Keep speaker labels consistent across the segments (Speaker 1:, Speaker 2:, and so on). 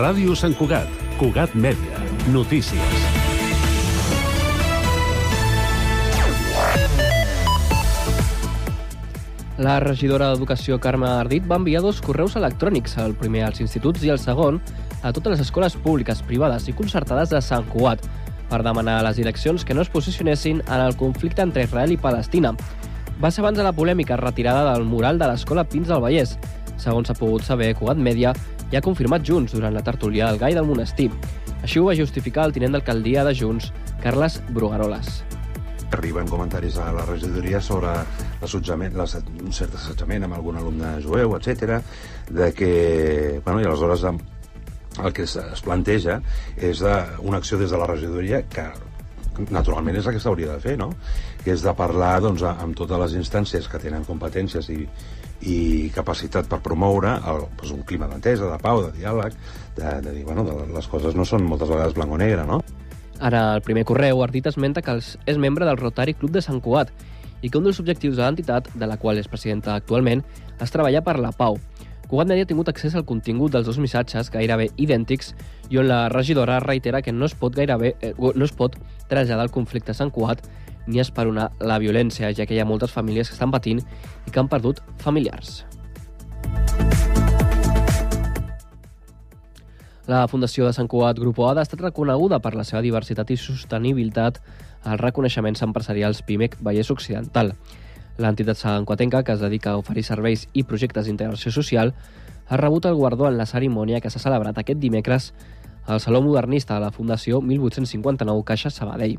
Speaker 1: Ràdio Sant Cugat, Cugat Mèdia, notícies.
Speaker 2: La regidora d'Educació, Carme Ardit, va enviar dos correus electrònics, el primer als instituts i el segon a totes les escoles públiques, privades i concertades de Sant Cugat, per demanar a les direccions que no es posicionessin en el conflicte entre Israel i Palestina. Va ser abans de la polèmica retirada del mural de l'escola Pins del Vallès. Segons s'ha pogut saber, Cugat Mèdia ja ha confirmat Junts durant la tertúlia del Gai del Monestir. Així ho va justificar el tinent d'alcaldia de Junts, Carles Brugaroles
Speaker 3: arriben comentaris a la regidoria sobre l'assetjament, un cert assetjament amb algun alumne jueu, etc. de que, bueno, i aleshores el que es planteja és de, una acció des de la regidoria que naturalment és la que s'hauria de fer, no? Que és de parlar doncs, amb totes les instàncies que tenen competències i, i capacitat per promoure el, doncs, un clima d'entesa, de pau, de diàleg, de, de dir, bueno, de, les coses no són moltes vegades blanc o negre, no?
Speaker 2: En el primer correu, Ardit esmenta que és membre del Rotary Club de Sant Cugat i que un dels objectius de l'entitat, de la qual és presidenta actualment, és treballar per la pau. Cugat Mèdia ha tingut accés al contingut dels dos missatges gairebé idèntics i on la regidora reitera que no es pot gairebé eh, no es pot traslladar el conflicte a Sant Cugat ni esperonar la violència, ja que hi ha moltes famílies que estan patint i que han perdut familiars. La Fundació de Sant Cugat Grupo ADA ha estat reconeguda per la seva diversitat i sostenibilitat als reconeixements empresarials PIMEC Vallès Occidental. L'entitat santcuatenca, que es dedica a oferir serveis i projectes d'integració social, ha rebut el guardó en la cerimònia que s'ha celebrat aquest dimecres al Saló Modernista de la Fundació 1859 Caixa Sabadell.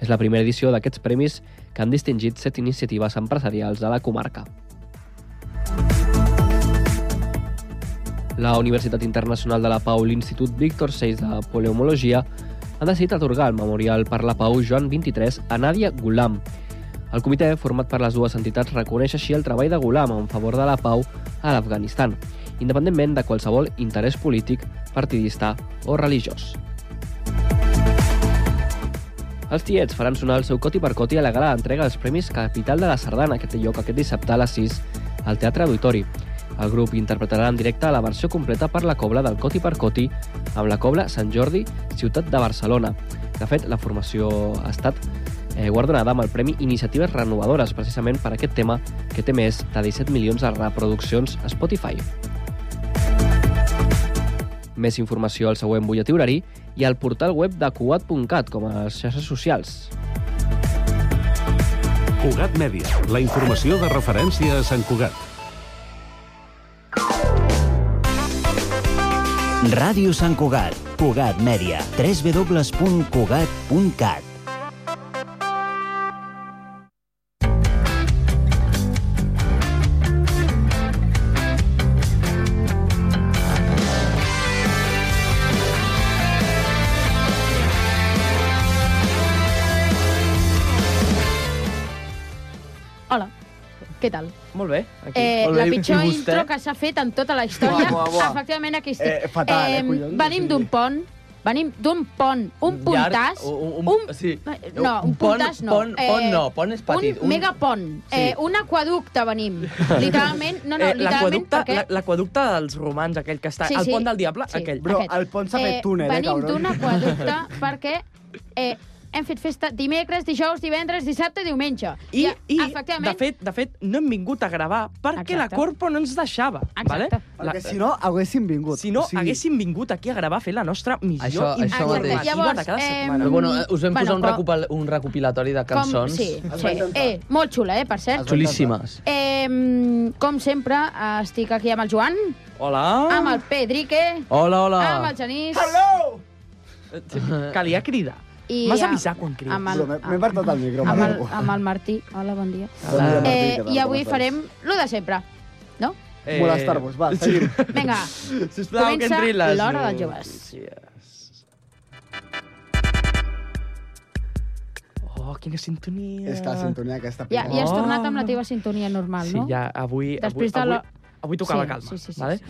Speaker 2: És la primera edició d'aquests premis que han distingit set iniciatives empresarials de la comarca. La Universitat Internacional de la Pau i l'Institut Víctor Seis de Paleomologia han decidit atorgar el Memorial per la Pau Joan 23 a Nadia Gulam. El comitè, format per les dues entitats, reconeix així el treball de Gulam en favor de la pau a l'Afganistan, independentment de qualsevol interès polític, partidista o religiós. Els tiets faran sonar el seu coti per coti a la gala d'entrega dels Premis Capital de la Sardana, que té lloc aquest dissabte a les 6 al Teatre Auditori. El grup interpretarà en directe la versió completa per la cobla del Coti per Coti amb la cobla Sant Jordi, ciutat de Barcelona. De fet, la formació ha estat eh, guardonada amb el Premi Iniciatives Renovadores, precisament per aquest tema que té més de 17 milions de reproduccions a Spotify. Més informació al següent butlletí horari i al portal web de cuat.cat com a les xarxes socials.
Speaker 1: Cugat Mèdia, la informació de referència a Sant Cugat.
Speaker 4: Ràdio Sant Cugat, Cugat Mèdia, www.cugat.cat.
Speaker 5: Hola, què tal?
Speaker 2: Molt bé. Aquí.
Speaker 5: Eh,
Speaker 6: Molt
Speaker 5: la
Speaker 6: bé, i
Speaker 5: pitjor
Speaker 6: vostè?
Speaker 5: intro que s'ha fet en tota la història.
Speaker 6: Buah, buah, buah.
Speaker 5: Efectivament, aquí estic.
Speaker 6: Eh, fatal, eh, collons,
Speaker 5: Venim
Speaker 6: sí.
Speaker 5: d'un pont, venim d'un pont, un puntàs...
Speaker 6: un, un,
Speaker 5: un-
Speaker 6: sí.
Speaker 5: No, un
Speaker 6: pont,
Speaker 5: puntàs no. Eh,
Speaker 6: Pont, pont no, pont és petit.
Speaker 5: Un, megapont.
Speaker 6: Sí.
Speaker 5: Eh, un aquaducte venim. Literalment, no, no,
Speaker 7: Eh,
Speaker 5: literalment,
Speaker 7: l'aqueducte-
Speaker 5: perquè...
Speaker 7: la- L'aqueducte dels romans, aquell que està...
Speaker 5: Sí,
Speaker 7: Sí, sí.
Speaker 5: sí.
Speaker 7: El pont del diable,
Speaker 5: Sí.
Speaker 7: sí. aquell.
Speaker 6: Bro,
Speaker 5: Aquest.
Speaker 6: el pont s'ha fet túnel, eh,
Speaker 5: venim
Speaker 6: cabron.
Speaker 5: d'un aquaducte perquè eh, hem fet festa dimecres, dijous, divendres, dissabte, diumenge.
Speaker 7: I, i
Speaker 5: efectivament,
Speaker 7: de, fet, de fet, no hem vingut a gravar perquè
Speaker 5: Exacte.
Speaker 7: la Corpo no ens deixava.
Speaker 5: Exacte.
Speaker 7: Vale? La,
Speaker 6: Perquè si no, haguéssim vingut.
Speaker 7: si no haguéssim vingut aquí a gravar a fer la nostra missió
Speaker 8: Això- això
Speaker 7: informativa
Speaker 8: mateix.
Speaker 7: de
Speaker 5: Llavors,
Speaker 7: cada
Speaker 5: em,
Speaker 7: setmana.
Speaker 8: Però, bueno, eh, us vam
Speaker 5: Bueno,
Speaker 8: posar un,
Speaker 5: però-
Speaker 8: recopil un recopilatori de
Speaker 5: Com,
Speaker 8: cançons.
Speaker 5: sí,
Speaker 6: Es va
Speaker 5: sí.
Speaker 6: intentar.
Speaker 5: Eh, molt xula, eh, per cert.
Speaker 8: Xulíssimes.
Speaker 5: Eh, com sempre, eh, estic aquí amb el Joan,
Speaker 7: Hola.
Speaker 5: amb el Pedrique,
Speaker 8: Hola, hola.
Speaker 6: Ah,
Speaker 5: amb el Genís...
Speaker 6: Hello!
Speaker 7: Calia cridar.
Speaker 5: i
Speaker 7: M'has
Speaker 5: amb-
Speaker 7: avisat quan crides.
Speaker 5: amb el-
Speaker 6: Bro, m'he- M'he apartat el
Speaker 7: Ah.
Speaker 6: micro.
Speaker 5: Amb el,
Speaker 6: perdó.
Speaker 5: amb el Martí. Hola, bon dia.
Speaker 6: Bon dia, Martí,
Speaker 5: Eh,
Speaker 6: què tal,
Speaker 5: I avui
Speaker 6: com estàs?
Speaker 5: farem lo de sempre, no?
Speaker 7: Eh,
Speaker 6: Molestar-vos, va, seguim.
Speaker 5: Vinga,
Speaker 7: Sisplau, que entri
Speaker 5: Comença
Speaker 7: les
Speaker 5: l'hora dels joves.
Speaker 7: notícies. Oh, quina sintonia.
Speaker 6: És que la sintonia aquesta...
Speaker 5: ja, ja has
Speaker 7: Oh.
Speaker 5: tornat amb la teva sintonia normal,
Speaker 7: Sí,
Speaker 5: no?
Speaker 7: ja, avui...
Speaker 5: Després de
Speaker 7: avui,
Speaker 5: la-
Speaker 7: avui, avui tocava
Speaker 5: Sí,
Speaker 7: calma.
Speaker 5: sí, sí, sí,
Speaker 7: vale?
Speaker 5: sí.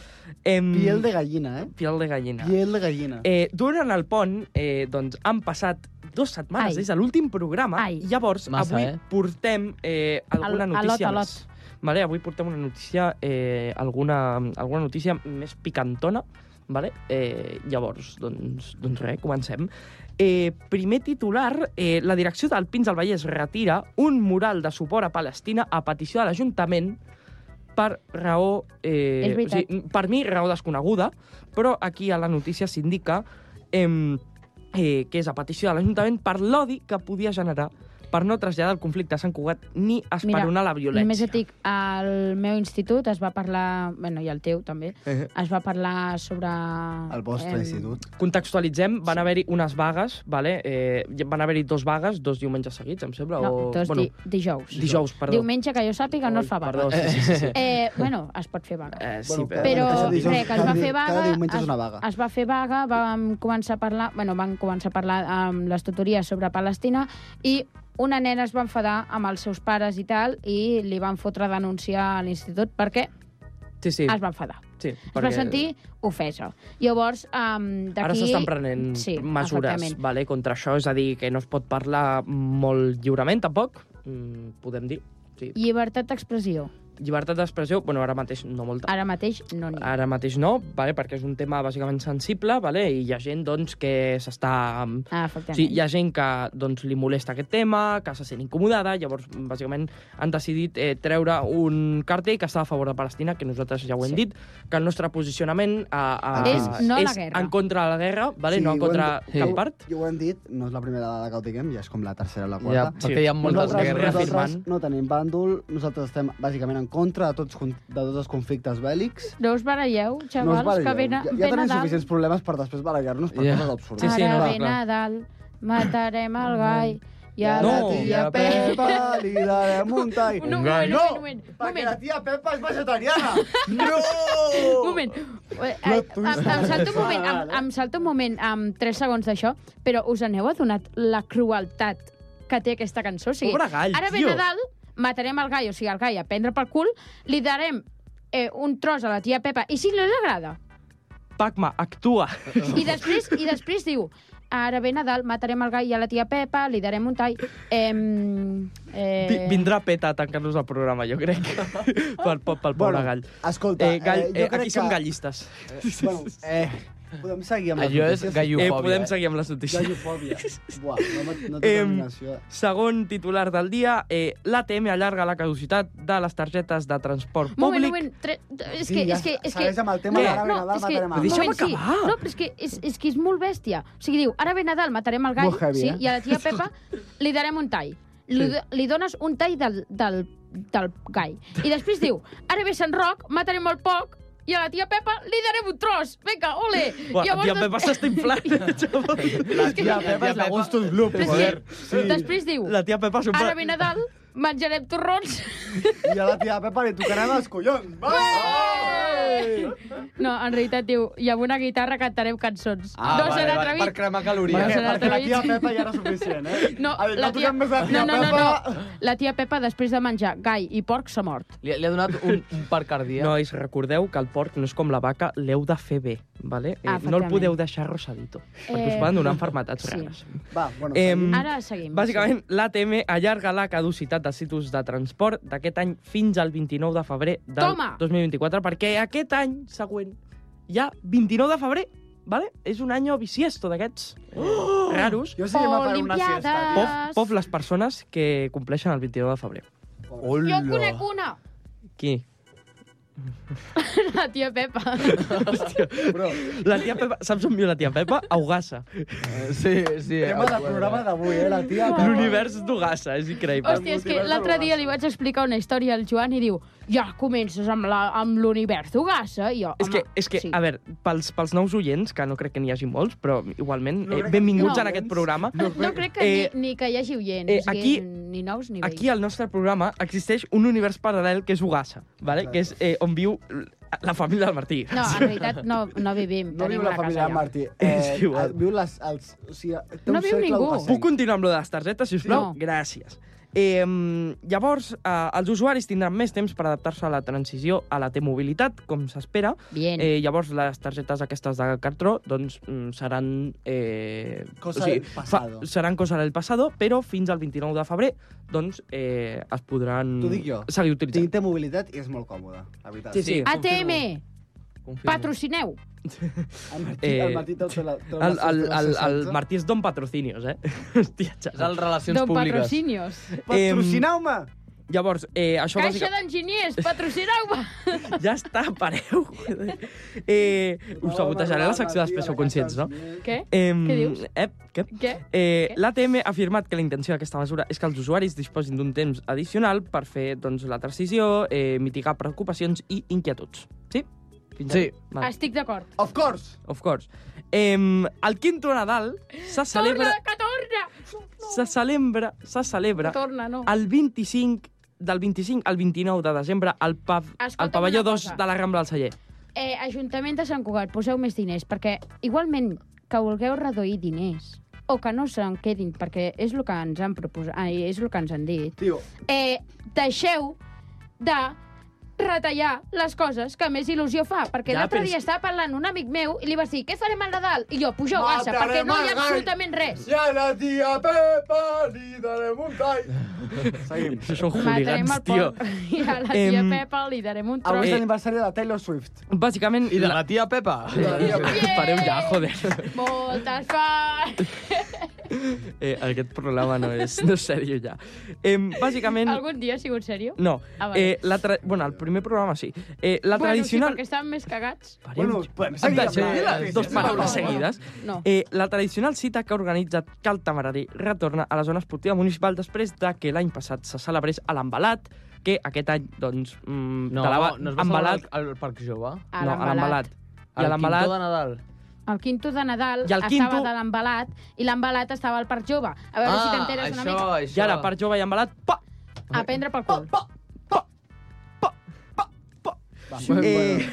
Speaker 7: Em,
Speaker 6: Oh. Piel de gallina, eh?
Speaker 7: Piel de gallina.
Speaker 6: Piel de gallina.
Speaker 7: Eh, durant el pont eh, doncs, han passat dues setmanes
Speaker 5: Ai.
Speaker 7: des de l'últim programa
Speaker 5: Ai.
Speaker 7: i llavors
Speaker 8: Massa,
Speaker 7: avui
Speaker 8: eh?
Speaker 7: portem eh, alguna
Speaker 5: Al-
Speaker 7: notícia
Speaker 5: alot,
Speaker 7: més. Vale? Avui portem una notícia, eh, alguna, alguna notícia més picantona. Vale? Eh, llavors, doncs, doncs res, comencem. Eh, primer titular, eh, la direcció del Pins del Vallès retira un mural de suport a Palestina a petició de l'Ajuntament per raó... Eh,
Speaker 5: És veritat.
Speaker 7: O sigui, per mi, raó desconeguda, però aquí a la notícia s'indica em, eh, que és a petició de l'Ajuntament per l'odi que podia generar per no traslladar el conflicte a Sant Cugat ni esperonar la violència.
Speaker 5: Només et dic, al meu institut es va parlar, bueno, i al teu també,
Speaker 7: Eh.
Speaker 5: es va parlar sobre...
Speaker 6: El vostre
Speaker 5: em,
Speaker 6: institut.
Speaker 7: Contextualitzem, van haver-hi unes vagues, vale? eh, van haver-hi dos vagues, dos diumenges seguits, em sembla,
Speaker 5: No,
Speaker 7: o...
Speaker 5: dos bueno, di dijous.
Speaker 7: dijous, perdó.
Speaker 5: Diumenge, que jo sàpiga, no
Speaker 7: Oi,
Speaker 5: es fa vaga.
Speaker 7: Perdó, sí, sí, sí. sí.
Speaker 5: Eh, bueno, es pot fer vaga.
Speaker 7: Eh, sí,
Speaker 6: cada-
Speaker 5: Però,
Speaker 6: cada dijous-
Speaker 5: re, que es
Speaker 6: cada
Speaker 5: va
Speaker 6: di-
Speaker 5: fer vaga...
Speaker 6: Cada diumenge és una vaga.
Speaker 5: Es, es va fer vaga, vam començar a parlar... Bueno, van començar a parlar amb les tutories sobre Palestina i una nena es va enfadar amb els seus pares i tal i li van fotre denúncia a l'institut perquè
Speaker 7: sí, sí,
Speaker 5: es va enfadar.
Speaker 7: sí
Speaker 5: Es va sentir ofesa. Llavors, um, d'aquí...
Speaker 7: Ara s'estan prenent
Speaker 5: Sí,
Speaker 7: mesures
Speaker 5: efectivament.
Speaker 7: vale, contra això, és a dir, que no es pot parlar molt lliurement, tampoc, mm, podem dir. Sí.
Speaker 5: Llibertat d'expressió.
Speaker 7: Llibertat d'expressió, bueno, ara mateix no molta.
Speaker 5: Ara mateix no n'hi ha.
Speaker 7: Ara mateix no, vale, perquè és un tema bàsicament sensible, vale, i hi ha gent doncs, que s'està mm,
Speaker 5: Ah,
Speaker 7: O
Speaker 5: efectivament.
Speaker 7: sigui, hi ha gent que doncs, li molesta aquest tema, que se sent incomodada, llavors, bàsicament, han decidit eh, treure un cartell que està a favor de Palestina, que nosaltres ja ho
Speaker 5: Sí.
Speaker 7: hem dit, que el nostre posicionament a, a,
Speaker 5: És no a la guerra.
Speaker 7: en contra de la guerra, vale?
Speaker 6: Sí,
Speaker 7: sí, no
Speaker 6: ho
Speaker 7: en
Speaker 6: hem
Speaker 7: contra
Speaker 6: dit-
Speaker 7: cap part.
Speaker 6: Jo ho hem dit, no és la primera vegada que ho diguem, ja és com la tercera o la
Speaker 8: Ja,
Speaker 6: quarta.
Speaker 7: Sí.
Speaker 8: perquè hi ha moltes
Speaker 7: Nosaltres-
Speaker 8: guerres.
Speaker 7: nosaltres-
Speaker 6: nosaltres no tenim bàndol, nosaltres estem bàsicament en contra de tots, con- de tots els conflictes bèl·lics.
Speaker 5: No us baralleu, xavals,
Speaker 6: baralleu.
Speaker 5: que ve, na-
Speaker 6: ja,
Speaker 5: ve
Speaker 6: ja tenim
Speaker 5: Nadal.
Speaker 6: suficients problemes per després barallar-nos per
Speaker 8: Ja.
Speaker 6: coses
Speaker 7: Sí,
Speaker 6: absurdes.
Speaker 7: sí,
Speaker 5: Ara
Speaker 7: no,
Speaker 5: ve
Speaker 8: clar.
Speaker 5: Nadal, matarem el gai i a
Speaker 7: No.
Speaker 5: la tia
Speaker 8: Ja,
Speaker 5: Pepa...
Speaker 6: Pepa, li darem un tall.
Speaker 5: Un moment, un moment, un
Speaker 6: Perquè
Speaker 5: moment,
Speaker 6: la tia Pepa és vegetariana.
Speaker 7: No!
Speaker 5: un moment. Eh, eh, Em, em salto un moment, em, em salto un moment, amb 3 segons d'això, però us aneu adonat la crueltat que té aquesta cançó? O sigui,
Speaker 7: Pobre gall,
Speaker 5: ara ve
Speaker 7: tio.
Speaker 5: Nadal, matarem el gai, o sigui, el gai a prendre pel cul, li darem eh, un tros a la tia Pepa, i si no li agrada?
Speaker 7: Pacma, actua.
Speaker 5: I després, i després diu, ara ve Nadal, matarem el gai i a la tia Pepa, li darem un tall. Em, eh,
Speaker 7: Eh... Vindrà peta a tancar-nos el programa, jo crec, pel, pel, pel pobre gall.
Speaker 6: Escolta,
Speaker 7: Eh, gall
Speaker 6: jo
Speaker 7: eh,
Speaker 6: crec
Speaker 7: aquí som
Speaker 6: que-
Speaker 7: gallistes.
Speaker 6: Bueno, eh, podem seguir amb les
Speaker 8: Allò és
Speaker 6: notícies?
Speaker 7: Eh,
Speaker 8: gallofòbia.
Speaker 7: podem
Speaker 8: eh?
Speaker 7: seguir amb les notícies.
Speaker 6: Gallofòbia. Buah, no, no té
Speaker 7: Em,
Speaker 6: terminació.
Speaker 7: Segon titular del dia, eh, l'ATM allarga la caducitat de les targetes de transport
Speaker 5: moment,
Speaker 7: públic.
Speaker 5: moment, tre... és
Speaker 6: Sí,
Speaker 5: que...
Speaker 6: ja
Speaker 5: És que, és que...
Speaker 6: segueix amb el tema, ara ve Nadal,
Speaker 5: és que-
Speaker 6: matarem el
Speaker 7: Deixa'm
Speaker 5: moment, sí.
Speaker 7: acabar.
Speaker 5: No, però és que és, és que és molt bèstia. O sigui, diu, ara ve Nadal, matarem el gall,
Speaker 6: Molt heavy,
Speaker 5: sí,
Speaker 6: eh?
Speaker 5: i a la tia Pepa li darem un tall. Li, do- li dones un tall del, del, del gall. I després diu, ara ve Sant Roc, matarem molt poc, i a la tia Pepa li darem un tros. Vinga, ole!
Speaker 7: Buah, tia
Speaker 5: des-
Speaker 7: Pepa s'està eh, inflant.
Speaker 6: La tia Pepa és la Gustus Gloop,
Speaker 5: Però és
Speaker 6: joder.
Speaker 5: que després diu,
Speaker 7: la tia Pepa s'ho
Speaker 5: ara ve Nadal, menjarem torrons.
Speaker 6: I a la tia Pepa li tocarem els collons. Va!
Speaker 5: No, en realitat diu, i amb una guitarra cantarem cançons.
Speaker 8: Ah,
Speaker 5: no
Speaker 8: vale,
Speaker 5: serà
Speaker 8: vale, Per
Speaker 5: atrevit.
Speaker 8: cremar
Speaker 6: Per
Speaker 8: calories.
Speaker 5: Perquè-
Speaker 6: què?
Speaker 5: serà
Speaker 6: Perquè la tia
Speaker 5: atrevit.
Speaker 6: Pepa ja era suficient, eh?
Speaker 5: No,
Speaker 6: A veure,
Speaker 5: la tia...
Speaker 6: no toquem més la tia
Speaker 5: no, no,
Speaker 6: Pepa.
Speaker 5: no, no. La tia Pepa, després de menjar gai i porc, s'ha mort.
Speaker 8: Li, li ha donat un, un par cardíac.
Speaker 7: Nois, recordeu que el porc no és com la vaca, l'heu de fer bé, vale? Eh, no el
Speaker 5: Ah, Efectivament.
Speaker 7: podeu deixar rosadito, eh... perquè us
Speaker 5: Eh,
Speaker 7: poden donar enfermetats
Speaker 5: sí.
Speaker 7: sí. rares.
Speaker 6: Va, bueno,
Speaker 7: Em,
Speaker 6: seguim.
Speaker 5: Ara seguim.
Speaker 7: Bàsicament, l'ATM allarga la caducitat dels títols de transport d'aquest any fins al 29 de febrer del
Speaker 5: Toma!
Speaker 7: 2024, perquè aquest any següent hi ha 29 de febrer, vale? És un any bisiesto d'aquests oh! raros.
Speaker 6: Jo sí que m'ha faré una siesta,
Speaker 7: Pof,
Speaker 5: Olimpiades!
Speaker 7: pof les persones que compleixen el 29 de febrer.
Speaker 5: Jo en conec una!
Speaker 7: Qui?
Speaker 5: La tia Pepa.
Speaker 6: tio. Però,
Speaker 7: La tia Pepa, saps on viu la tia Pepa? A Ogassa.
Speaker 8: Sí, sí.
Speaker 6: tema del programa d'avui, eh? La tia Pepa.
Speaker 7: L'univers d'Ogassa, és increïble.
Speaker 5: Hòstia, és que l'altre dia li vaig explicar una història al Joan i diu ja comences amb la- amb l'univers d'Ugassa. I jo,
Speaker 7: És que,
Speaker 5: home,
Speaker 7: és que
Speaker 5: sí.
Speaker 7: a veure, pels, pels nous oients, que no crec que n'hi hagi molts, però igualment,
Speaker 6: No
Speaker 7: eh,
Speaker 6: crec que
Speaker 7: benvinguts
Speaker 5: n'hi
Speaker 7: en
Speaker 6: hagi
Speaker 7: aquest
Speaker 6: molts.
Speaker 7: programa.
Speaker 5: No, no crec que
Speaker 7: Eh,
Speaker 5: ni, ni que hi hagi oients,
Speaker 7: eh,
Speaker 5: eh,
Speaker 7: aquí-
Speaker 5: aquí, ni nous ni vells.
Speaker 7: Aquí al nostre programa existeix un univers paral·lel que és Ugassa, vale?
Speaker 6: Exacte.
Speaker 7: que és eh, on viu la família del Martí.
Speaker 5: No, en realitat no, no vivim.
Speaker 6: No
Speaker 5: tenim
Speaker 6: viu la
Speaker 5: una
Speaker 6: família
Speaker 5: casa allà.
Speaker 6: Martí. Eh,
Speaker 7: És igual.
Speaker 6: Viu les... Els, o sigui, té
Speaker 5: No
Speaker 6: un
Speaker 5: viu
Speaker 6: cercle
Speaker 5: ningú.
Speaker 6: docent.
Speaker 7: Puc continuar amb lo de les targetes, si us plau?
Speaker 5: No.
Speaker 7: Gràcies. Eh, llavors, eh, els usuaris tindran més temps per adaptar-se a la transició a la T-mobilitat, com s'espera.
Speaker 5: Bien.
Speaker 7: Eh, llavors, les targetes aquestes de cartró doncs, mm, seran... Eh,
Speaker 6: Cosa del pasado.
Speaker 7: seran cosa del passado, però fins al 29 de febrer doncs, eh, es podran
Speaker 6: T'ho dic jo.
Speaker 7: seguir utilitzant.
Speaker 6: Tinc té mobilitat i és molt còmode, la veritat.
Speaker 5: ATM,
Speaker 7: confirmo.
Speaker 5: patrocineu.
Speaker 6: El Martí,
Speaker 7: Eh,
Speaker 6: el Martí te'l- te'l- te'l-
Speaker 7: El, el, el, el
Speaker 6: te'l-
Speaker 7: Martí és don patrocinios, eh? Hòstia,
Speaker 8: És el
Speaker 7: xaval.
Speaker 8: Relacions
Speaker 5: Don
Speaker 8: Públiques.
Speaker 5: patrocinios.
Speaker 6: Patrocineu-me!
Speaker 7: Llavors, eh, això
Speaker 5: Caixa d'enginyers, patrocineu-me.
Speaker 7: Ja està, pareu. eh, us sabotejaré la secció després, sou conscients, no?
Speaker 5: Què?
Speaker 7: Eh,
Speaker 5: Què dius?
Speaker 7: Eh, què?
Speaker 5: Què?
Speaker 7: Eh,
Speaker 5: Què?
Speaker 7: L'ATM ha afirmat que la intenció d'aquesta mesura és que els usuaris disposin d'un temps addicional per fer doncs, la transició, eh, mitigar preocupacions i inquietuds. Sí? Fins
Speaker 8: Sí.
Speaker 7: Aquí? Vale.
Speaker 5: Estic d'acord.
Speaker 6: Of course!
Speaker 7: Of course. Eh, el quinto Nadal se celebra,
Speaker 5: Torna, que torna!
Speaker 7: se celebra, se celebra
Speaker 5: Que torna, no.
Speaker 7: el 25 del 25 al 29 de desembre al, pav, al
Speaker 5: Escolta'm
Speaker 7: pavelló
Speaker 5: una
Speaker 7: 2
Speaker 5: cosa.
Speaker 7: de la Rambla del Celler.
Speaker 5: Eh, Ajuntament de Sant Cugat, poseu més diners, perquè igualment que vulgueu reduir diners o que no se'n quedin, perquè és el que ens han proposat, ai, és el que ens han dit,
Speaker 6: Tio,
Speaker 5: eh, deixeu de retallar les coses que més il·lusió fa. Perquè
Speaker 7: Ja,
Speaker 5: ja, l'altre
Speaker 7: però
Speaker 5: dia
Speaker 7: és-
Speaker 5: estava parlant un amic meu i li vas dir, què farem al Nadal? I jo, pugeu gassa,
Speaker 6: Matarem
Speaker 5: perquè no hi ha
Speaker 6: el gall.
Speaker 5: absolutament res.
Speaker 6: ja la tia Pepa li darem un tall. Seguim.
Speaker 7: Això són
Speaker 5: Matarem
Speaker 7: hooligans,
Speaker 5: el
Speaker 7: tio.
Speaker 5: porc i a la tia
Speaker 7: Em,
Speaker 5: Pepa li darem un tros.
Speaker 6: Avui és
Speaker 7: Eh.
Speaker 6: l'aniversari de la Taylor Swift.
Speaker 7: Bàsicament...
Speaker 8: I de la tia Pepa.
Speaker 7: Pareu ja, joder.
Speaker 5: Moltes fa...
Speaker 7: Eh, aquest programa no és, no és sèrio ja. Eh, bàsicament...
Speaker 5: Algun dia ha sigut seriós?
Speaker 7: No,
Speaker 5: Ah, vale.
Speaker 7: eh, la tra... bueno, el primer programa sí. Eh, la
Speaker 5: Bueno, sí,
Speaker 7: tradicional...
Speaker 5: perquè estaven més cagats.
Speaker 7: Pareu
Speaker 6: Bueno,
Speaker 7: ja.
Speaker 6: podem
Speaker 7: Em
Speaker 6: seguir
Speaker 7: deixa-
Speaker 6: amb la-
Speaker 5: eh,
Speaker 7: les Dos
Speaker 6: Sí, sí,
Speaker 7: paraules
Speaker 5: sí, sí.
Speaker 7: seguides.
Speaker 5: No.
Speaker 7: Eh, la tradicional cita que organitza Cal Tamarari retorna a la zona esportiva municipal després de que l'any passat se celebrés a l'embalat, que aquest any, doncs, mm,
Speaker 8: No,
Speaker 7: te la va,
Speaker 8: no es va
Speaker 7: embalat,
Speaker 8: celebrar al, al Parc Jove.
Speaker 5: A
Speaker 7: no, a l'embalat. I a
Speaker 8: Al Quintó de
Speaker 7: l'embalat...
Speaker 8: Nadal.
Speaker 5: El quinto de Nadal
Speaker 7: I el
Speaker 5: estava
Speaker 7: quinto-
Speaker 5: de l'embalat i l'embalat estava al Parc Jove. A veure si t'enteres una
Speaker 8: Ah, això,
Speaker 5: mica.
Speaker 8: això.
Speaker 7: I ara, part jove i embalat, pa!
Speaker 5: A prendre pel cul.
Speaker 7: Oh,
Speaker 6: Va,
Speaker 8: Bueno,
Speaker 7: Eh,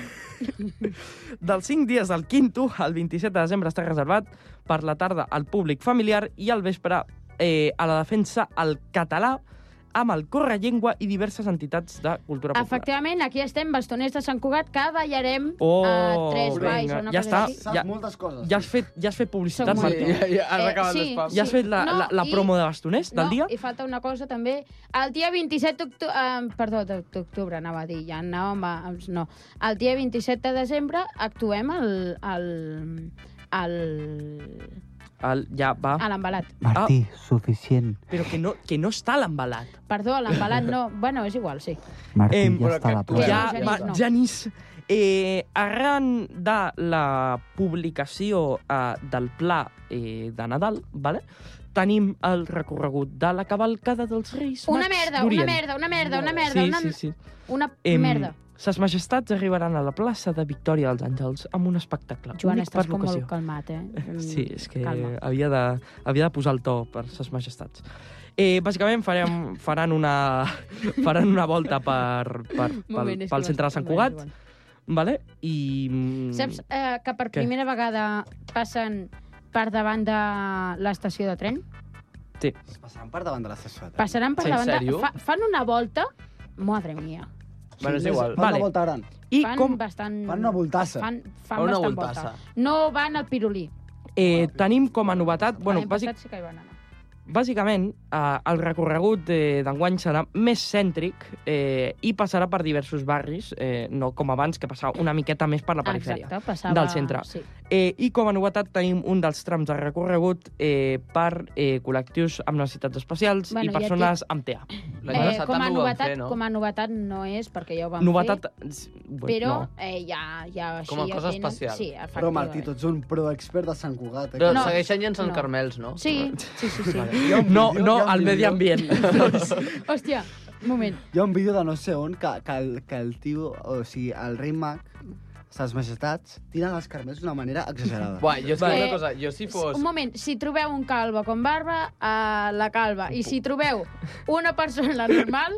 Speaker 7: dels 5 dies del quinto, el 27 de desembre està reservat per la tarda al públic familiar i al vespre eh, a la defensa al català amb el Correllengua i diverses entitats de cultura popular.
Speaker 5: Efectivament, aquí estem, bastoners de Sant Cugat, que ballarem
Speaker 7: Oh,
Speaker 5: a tres balls o
Speaker 7: vinga,
Speaker 5: una
Speaker 7: ja
Speaker 5: cosa
Speaker 7: està.
Speaker 5: així.
Speaker 6: Saps
Speaker 7: Ja-
Speaker 6: moltes coses.
Speaker 7: Ja has fet, ja has fet publicitat,
Speaker 5: Som
Speaker 8: Sí,
Speaker 7: Martí.
Speaker 5: molt-
Speaker 8: ja, ja has
Speaker 5: Eh,
Speaker 8: acabat
Speaker 5: sí,
Speaker 8: l'espam.
Speaker 5: sí.
Speaker 7: Ja has fet la,
Speaker 5: No,
Speaker 7: la, la
Speaker 5: i-
Speaker 7: promo de bastoners del
Speaker 5: no,
Speaker 7: dia?
Speaker 5: i falta una cosa també. El dia 27 d'octubre... Eh, perdó, d'oc- d'octubre anava a dir, ja anàvem a... amb- No. El dia 27 de desembre actuem al... al, al
Speaker 7: El, ja, va.
Speaker 5: a l'embalat.
Speaker 7: Martí,
Speaker 4: suficient.
Speaker 7: Però que no, que no està a l'embalat.
Speaker 5: Perdó, a l'embalat no. Bueno, és igual, sí.
Speaker 4: Martí,
Speaker 7: Em,
Speaker 4: ja està a la
Speaker 8: tu
Speaker 5: Bueno,
Speaker 7: ja,
Speaker 4: plaça.
Speaker 5: Genís
Speaker 7: va,
Speaker 5: no.
Speaker 7: Genís, eh, arran de la publicació eh, del pla eh, de Nadal, vale? tenim el recorregut de la cavalcada dels Reis
Speaker 5: Una
Speaker 7: Mags
Speaker 5: merda, una
Speaker 7: d'Orient.
Speaker 5: merda, una merda, una merda,
Speaker 7: Sí,
Speaker 5: una,
Speaker 7: sí, sí.
Speaker 5: una
Speaker 7: Em,
Speaker 5: merda.
Speaker 7: Ses majestats arribaran a la plaça de Victòria dels Àngels amb un espectacle
Speaker 5: Joan,
Speaker 7: únic per
Speaker 5: estàs com molt
Speaker 7: l'ocasió.
Speaker 5: calmat, eh? Mm,
Speaker 7: Sí, és que
Speaker 5: Calma.
Speaker 7: havia de, havia de posar el to per ses majestats. Eh, bàsicament farem, faran, una, faran una volta per, per, pel,
Speaker 5: Moment, és que
Speaker 7: pel centre de Sant Cugat,
Speaker 5: Bueno,
Speaker 7: vale? i... mm,
Speaker 5: és igual. Saps eh, que per
Speaker 7: Què?
Speaker 5: primera vegada passen per davant de l'estació de tren?
Speaker 6: Es passaran per davant de eh? l'estació de tren.
Speaker 5: Passaran per
Speaker 8: Sí, en
Speaker 5: davant de...
Speaker 8: sèrio?
Speaker 5: Fa, fan una volta... Madre mia.
Speaker 8: Bueno, és igual.
Speaker 6: Fan
Speaker 7: Vale.
Speaker 6: una volta gran.
Speaker 7: I
Speaker 5: Fan
Speaker 7: com
Speaker 5: bastant...
Speaker 6: Fan una voltassa.
Speaker 5: Fan, fan
Speaker 8: Fan una
Speaker 5: bastant
Speaker 8: voltassa.
Speaker 5: volta. No van al pirulí.
Speaker 7: eh, tenim com a novetat... Bueno,
Speaker 5: L'any
Speaker 7: bàsic,
Speaker 5: passat sí que hi van anar.
Speaker 7: bàsicament, eh, el recorregut eh, d'enguany serà més cèntric eh, i passarà per diversos barris, eh, no com abans, que passava una miqueta més per la perifèria.
Speaker 5: Ah, Exacte, passava...
Speaker 7: del centre.
Speaker 5: Sí.
Speaker 7: Eh, I com a novetat tenim un dels trams de recorregut eh, per eh, col·lectius amb necessitats especials
Speaker 5: Bueno,
Speaker 7: bueno,
Speaker 5: i
Speaker 7: i persones amb TEA.
Speaker 8: L'any
Speaker 5: Eh,
Speaker 8: passat
Speaker 5: com, a
Speaker 8: també ho vam
Speaker 5: novetat,
Speaker 8: fer, no?
Speaker 5: com a novetat no és, perquè ja ho van fer.
Speaker 7: Novetat... Bueno,
Speaker 5: però
Speaker 7: no.
Speaker 5: eh, ja, ja així
Speaker 8: Com a
Speaker 5: ja
Speaker 8: cosa
Speaker 5: tenen-
Speaker 8: especial.
Speaker 5: Sí,
Speaker 6: Però, Martí, tu
Speaker 5: efectivament.
Speaker 6: ets un pro-expert de Sant Cugat. Eh?
Speaker 8: Però
Speaker 5: eh. No.
Speaker 8: segueixen llançant
Speaker 5: No.
Speaker 8: carmels, no?
Speaker 5: Sí, sí, sí. sí.
Speaker 6: Hi ha un
Speaker 7: No,
Speaker 6: vídeo-
Speaker 7: no,
Speaker 6: hi ha un
Speaker 7: al
Speaker 6: vídeo-
Speaker 7: medi ambient. Doncs,
Speaker 5: Hòstia, un moment.
Speaker 6: Hi ha un vídeo de no sé on que, que, el, que el tio, o sigui, el rei mag, ses majestats, tiren les carmels d'una manera exagerada.
Speaker 8: Buah, jo és que
Speaker 5: Vale.
Speaker 8: una cosa, jo si fos...
Speaker 5: Un moment, si trobeu un calvo com barba, a la calva. I si trobeu una persona normal,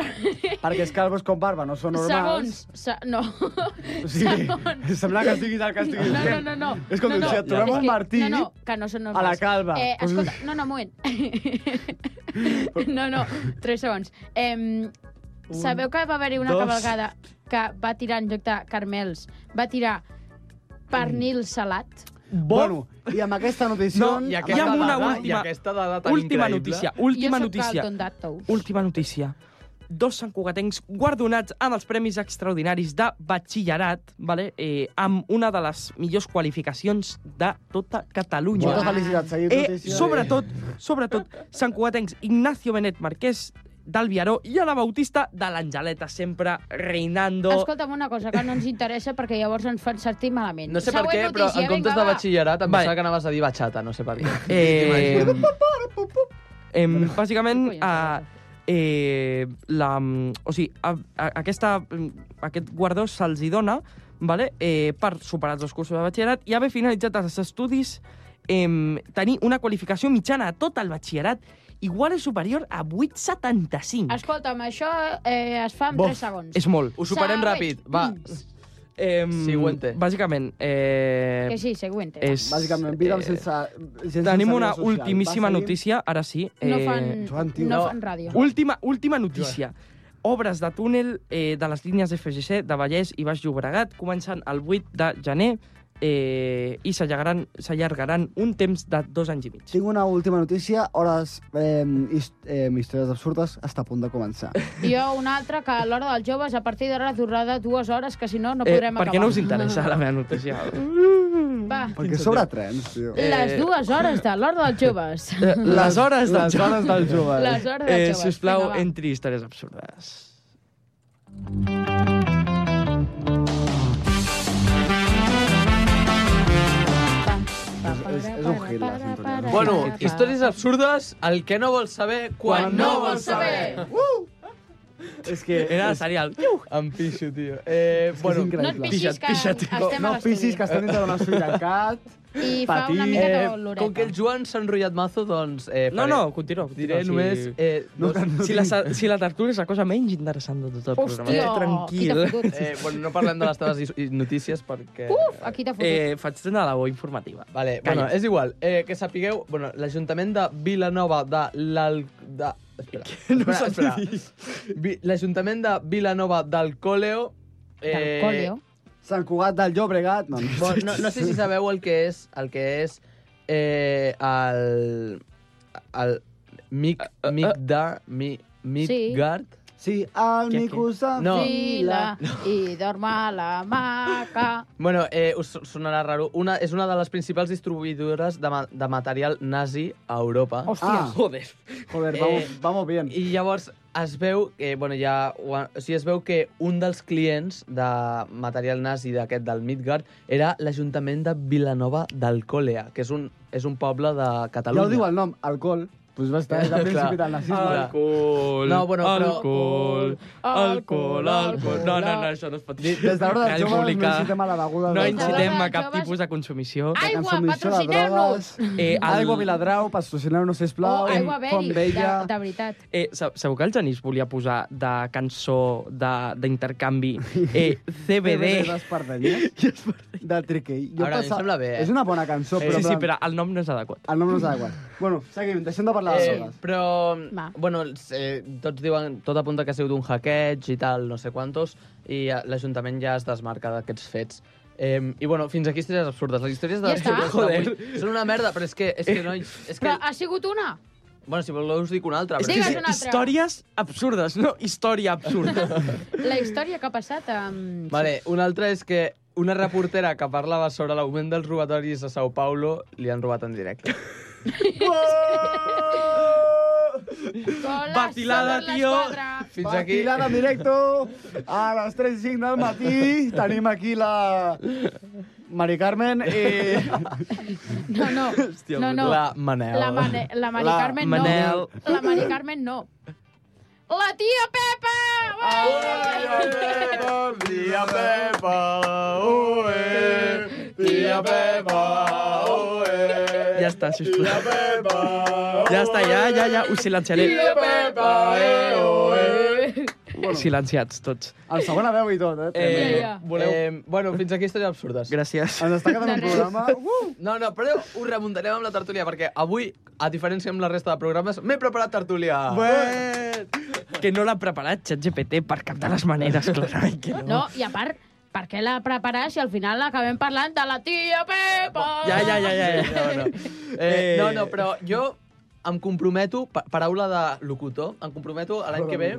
Speaker 6: Perquè els calvos com barba no són normals.
Speaker 5: segons... Se, no.
Speaker 6: O sigui,
Speaker 5: segons.
Speaker 6: sembla que estiguis el que
Speaker 5: No,
Speaker 6: estiguis
Speaker 5: no,
Speaker 6: dient.
Speaker 5: no, no.
Speaker 6: És com
Speaker 5: no,
Speaker 6: si et trobem
Speaker 5: és
Speaker 6: un
Speaker 5: que-
Speaker 6: Martí
Speaker 5: Eh, No, no, que no són
Speaker 6: A la
Speaker 5: normals.
Speaker 6: calva.
Speaker 5: Eh, escolta, no, no, un moment. No, no, tres segons. Em,
Speaker 7: Un,
Speaker 5: sabeu que va haver-hi una
Speaker 7: dos.
Speaker 5: cavalgada que va tirar, en lloc de carmels, va tirar
Speaker 7: Mm.
Speaker 5: pernil salat?
Speaker 7: Bo,
Speaker 6: Bueno, i amb aquesta notícia...
Speaker 7: No,
Speaker 8: I
Speaker 7: Hi
Speaker 8: aquesta,
Speaker 7: ha
Speaker 8: dada,
Speaker 7: una
Speaker 8: I
Speaker 7: última-
Speaker 8: aquesta dada tan
Speaker 7: última
Speaker 8: increïble.
Speaker 7: notícia, última
Speaker 5: jo
Speaker 7: notícia.
Speaker 5: Jo soc el
Speaker 7: Última notícia. Dos santcugatencs guardonats en els Premis Extraordinaris de Batxillerat, vale? eh, amb una de les millors qualificacions de tota Catalunya.
Speaker 6: Moltes felicitats, seguim
Speaker 7: Eh,
Speaker 6: notícia.
Speaker 7: sobretot, sobretot, santcugatencs Ignacio Benet Marquès del Viaró i a la Bautista de l'Angeleta, sempre reinando.
Speaker 5: Escolta'm una cosa, que no ens interessa perquè llavors ens fan sentir malament.
Speaker 8: No sé per
Speaker 5: Següent
Speaker 8: què, però
Speaker 5: notícia,
Speaker 8: en comptes
Speaker 5: vinga, va.
Speaker 8: de batxillerat em
Speaker 7: Vale.
Speaker 8: pensava que anaves a dir batxata, no sé per què.
Speaker 7: Eh, em, bàsicament,
Speaker 5: Què collons,
Speaker 7: eh, eh, la, o sigui, a, a, aquesta, aquest guardó se'ls hi dona vale? eh, per superar els dos cursos de batxillerat i haver finalitzat els estudis em, tenir una qualificació mitjana a tot el batxillerat igual o superior a 8,75.
Speaker 5: Escolta'm, això eh, es fa en
Speaker 7: Bof,
Speaker 5: 3 segons.
Speaker 7: És molt.
Speaker 8: Ho superem
Speaker 5: Següent.
Speaker 8: ràpid, va.
Speaker 7: Em,
Speaker 8: Siguiente.
Speaker 7: Bàsicament, eh,
Speaker 5: Que sí, següente.
Speaker 7: és...
Speaker 6: Bàsicament, vida
Speaker 7: eh,
Speaker 6: sense... sense
Speaker 7: Tenim
Speaker 6: vida
Speaker 7: una
Speaker 6: social.
Speaker 7: ultimíssima
Speaker 6: Va seguir-
Speaker 7: notícia, ara sí. eh,
Speaker 5: No fan,
Speaker 6: Joan, tio,
Speaker 5: no,
Speaker 6: no.
Speaker 5: fan ràdio.
Speaker 7: Última, última notícia. Obres de túnel eh, de les línies FGC de Vallès i Baix Llobregat comencen el 8 de gener eh, i s'allargaran s'allargaran un temps de dos anys i mig.
Speaker 6: Tinc una última notícia, hores eh, his, eh, històries absurdes, està a punt de començar.
Speaker 5: Jo una altra, que a l'hora dels joves, a partir d'ara durarà dues hores, que si no, no
Speaker 7: eh,
Speaker 5: podrem
Speaker 7: per què
Speaker 5: acabar. Mm.
Speaker 7: no us interessa la meva notícia?
Speaker 5: Va,
Speaker 6: Perquè sobre trens, tio.
Speaker 7: Eh,
Speaker 5: les dues hores de l'hora dels joves.
Speaker 7: Eh, les hores del
Speaker 6: les hores del jove.
Speaker 5: Les hores dels
Speaker 7: Eh,
Speaker 5: joves.
Speaker 7: si us plau,
Speaker 5: Vinga, va.
Speaker 7: entri històries absurdes.
Speaker 6: És- és un hit, la sintonia.
Speaker 8: Bueno, històries absurdes, el que no vols saber quan, no vols saber.
Speaker 6: És que...
Speaker 7: Era serial.
Speaker 8: Em pixo, tio. Eh,
Speaker 6: és
Speaker 8: bueno,
Speaker 5: No et
Speaker 6: increïble.
Speaker 5: pixis, que
Speaker 7: Pixa't, pixa't.
Speaker 5: estem
Speaker 6: no
Speaker 5: a
Speaker 6: et pixis, que
Speaker 5: l'estudi.
Speaker 6: estem dintre d'un estudi tancat.
Speaker 5: I fa una
Speaker 6: patint.
Speaker 5: mica de
Speaker 8: eh,
Speaker 5: oloreta.
Speaker 8: com que el Joan s'ha enrotllat mazo, doncs... Eh,
Speaker 7: No,
Speaker 8: faré-
Speaker 7: no, continua. continua
Speaker 8: Diré només... Eh,
Speaker 6: No,
Speaker 8: dos,
Speaker 6: que no
Speaker 7: Si la, si la tertúlia és la cosa menys interessant de tot el programa.
Speaker 5: Hòstia, qui
Speaker 7: eh,
Speaker 5: t'ha
Speaker 7: tranquil.
Speaker 5: fotut?
Speaker 8: eh, bueno, no parlem de les teves is- i- notícies perquè...
Speaker 5: Uf, aquí t'ha fotut.
Speaker 7: Eh, faig una labor informativa.
Speaker 8: Vale,
Speaker 7: Calla.
Speaker 8: bueno, és igual. Eh, que sapigueu, bueno, l'Ajuntament de Vilanova de l'Al... De... Espera,
Speaker 7: No
Speaker 8: espera, espera.
Speaker 7: saps
Speaker 8: Vi- L'Ajuntament de Vilanova d'Alcoleo... eh,
Speaker 5: Del còleo.
Speaker 6: Sant Cugat del Llobregat. No, no.
Speaker 8: Bon, no, no sé si sabeu el que és el que és eh, el, el mic,
Speaker 6: Eh,
Speaker 8: mic de mi, Midgard.
Speaker 6: Sí, el
Speaker 7: Què, què?
Speaker 6: mico s'enfila.
Speaker 8: No.
Speaker 5: Fila i dorma la maca.
Speaker 8: Bueno, eh, us sonarà raro. Una, és una de les principals distribuïdores de, ma de material nazi a Europa.
Speaker 6: Ah,
Speaker 7: Joder.
Speaker 6: joder, vamos,
Speaker 8: Eh,
Speaker 6: vamos bien.
Speaker 8: I llavors es veu que, bueno, ja, ho ha- o sigui, es veu que un dels clients de material nazi d'aquest del Midgard era l'Ajuntament de Vilanova d'Alcolea, que és un, és un poble de
Speaker 6: Ja
Speaker 8: Catalunya.
Speaker 6: ho diu el nom, alcohol. Doncs va estar des del
Speaker 8: Clar.
Speaker 6: principi del nazisme.
Speaker 8: Ah.
Speaker 7: Alcohol,
Speaker 8: No, bueno, però-
Speaker 7: alcohol, alcohol, alcohol. No, no, no, això no es pot dir.
Speaker 6: Oh. Des de l'hora dels
Speaker 7: Cal
Speaker 6: joves no
Speaker 7: publicar.
Speaker 6: incitem a la beguda.
Speaker 7: No
Speaker 6: alcohol.
Speaker 7: incitem a
Speaker 5: Joves-
Speaker 7: cap tipus de consumició.
Speaker 5: Ai, Aigua,
Speaker 6: Consumició de
Speaker 5: patrocineu-nos!
Speaker 6: drogues.
Speaker 7: Eh, el-
Speaker 6: Aigua Viladrau, patrocineu-nos, sisplau.
Speaker 5: Oh, aigua
Speaker 6: Font
Speaker 5: Beri, de,
Speaker 6: Vella.
Speaker 5: de veritat.
Speaker 7: Eh, sa- sabeu que el Genís volia posar de cançó de- d'intercanvi eh,
Speaker 6: CBD
Speaker 7: CBD?
Speaker 6: d'Espardenyers. De Triquei.
Speaker 8: Ara, a mi em sembla bé, eh?
Speaker 6: És una bona cançó,
Speaker 8: Sí,
Speaker 6: però...
Speaker 7: Sí, sí,
Speaker 6: en plan,
Speaker 7: però el nom no és adequat.
Speaker 6: El nom no és aigua. Bueno, seguim, deixem de parlar de
Speaker 8: Eh,
Speaker 6: drogues.
Speaker 8: però,
Speaker 5: Va.
Speaker 8: bueno, els, eh, tots diuen, tot apunta que ha sigut un hackeig i tal, no sé quantos, i eh, l'Ajuntament ja es desmarca d'aquests fets. Eh, I, bueno, fins aquí històries absurdes. Les històries
Speaker 5: Ja
Speaker 8: absurdes
Speaker 5: està.
Speaker 8: d'avui són una merda, però és que, és que no... És que,
Speaker 5: Però ah. ha sigut una.
Speaker 8: bueno, si voleu us dic una altra.
Speaker 7: És
Speaker 8: Però
Speaker 7: que
Speaker 5: Digues
Speaker 7: és
Speaker 5: una altra.
Speaker 7: històries absurdes, no història absurda.
Speaker 5: La història que ha passat amb...
Speaker 8: Vale, una altra és que una reportera que parlava sobre l'augment dels robatoris a Sao Paulo li han robat en directe.
Speaker 5: Colas
Speaker 7: Vacilada,
Speaker 5: sobre
Speaker 7: tio.
Speaker 5: l'esquadra.
Speaker 8: Fins Pues aquí...
Speaker 6: Vacilada en directo a les 3 i 5 del matí. Tenim aquí la Mari Carmen i...
Speaker 5: No, no, no, no.
Speaker 8: La Manel.
Speaker 5: La, Mane la Mari
Speaker 6: La
Speaker 5: Carmen
Speaker 7: Manel.
Speaker 5: no. La Mari Carmen no. La tia Pepa! Ué!
Speaker 8: Tia Pepa, ué, tia Pepa, ué.
Speaker 7: Ja està, sisplau. Ja està, ja, ja, ja, ho silenciaré.
Speaker 8: Pepa, eh, ué.
Speaker 6: bueno.
Speaker 7: silenciats tots.
Speaker 6: El segon a veu i tot, eh?
Speaker 8: Eh,
Speaker 5: Ja, ja.
Speaker 8: voleu... eh, bueno, fins aquí històries absurdes.
Speaker 7: Gràcies.
Speaker 6: Ens està quedant
Speaker 5: De
Speaker 6: un
Speaker 5: res.
Speaker 6: programa... Uh!
Speaker 8: No, no, però ho remuntarem amb la tertúlia, perquè avui, a diferència amb la resta de programes, m'he preparat tertúlia.
Speaker 7: Que no l'ha preparat ChatGPT per cap de les maneres, clarament que no.
Speaker 5: No, i a part, per què la preparar si al final acabem parlant de la tia Pepa?
Speaker 7: Ja, ja, ja, ja. ja.
Speaker 8: No, no. Eh, no, no, però jo em comprometo, pa paraula de locutor, em comprometo a l'any que ve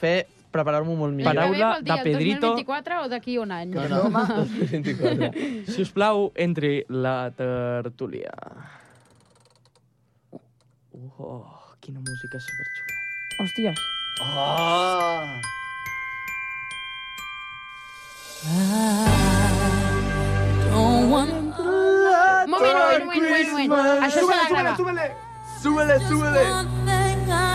Speaker 8: fer preparar-m'ho molt
Speaker 5: L'any
Speaker 8: millor.
Speaker 5: que ve
Speaker 7: Paraula
Speaker 5: vol dir
Speaker 7: de
Speaker 5: el
Speaker 7: Pedrito.
Speaker 5: 2024 o d'aquí un any?
Speaker 6: Que no, home.
Speaker 7: Si us plau, entri la tertúlia. Oh, quina música superxula.
Speaker 5: Hòsties.
Speaker 6: Ah!
Speaker 5: Un moment, un moment, un moment, un moment. Això s'ha de gravar.
Speaker 8: Súbele, súbele!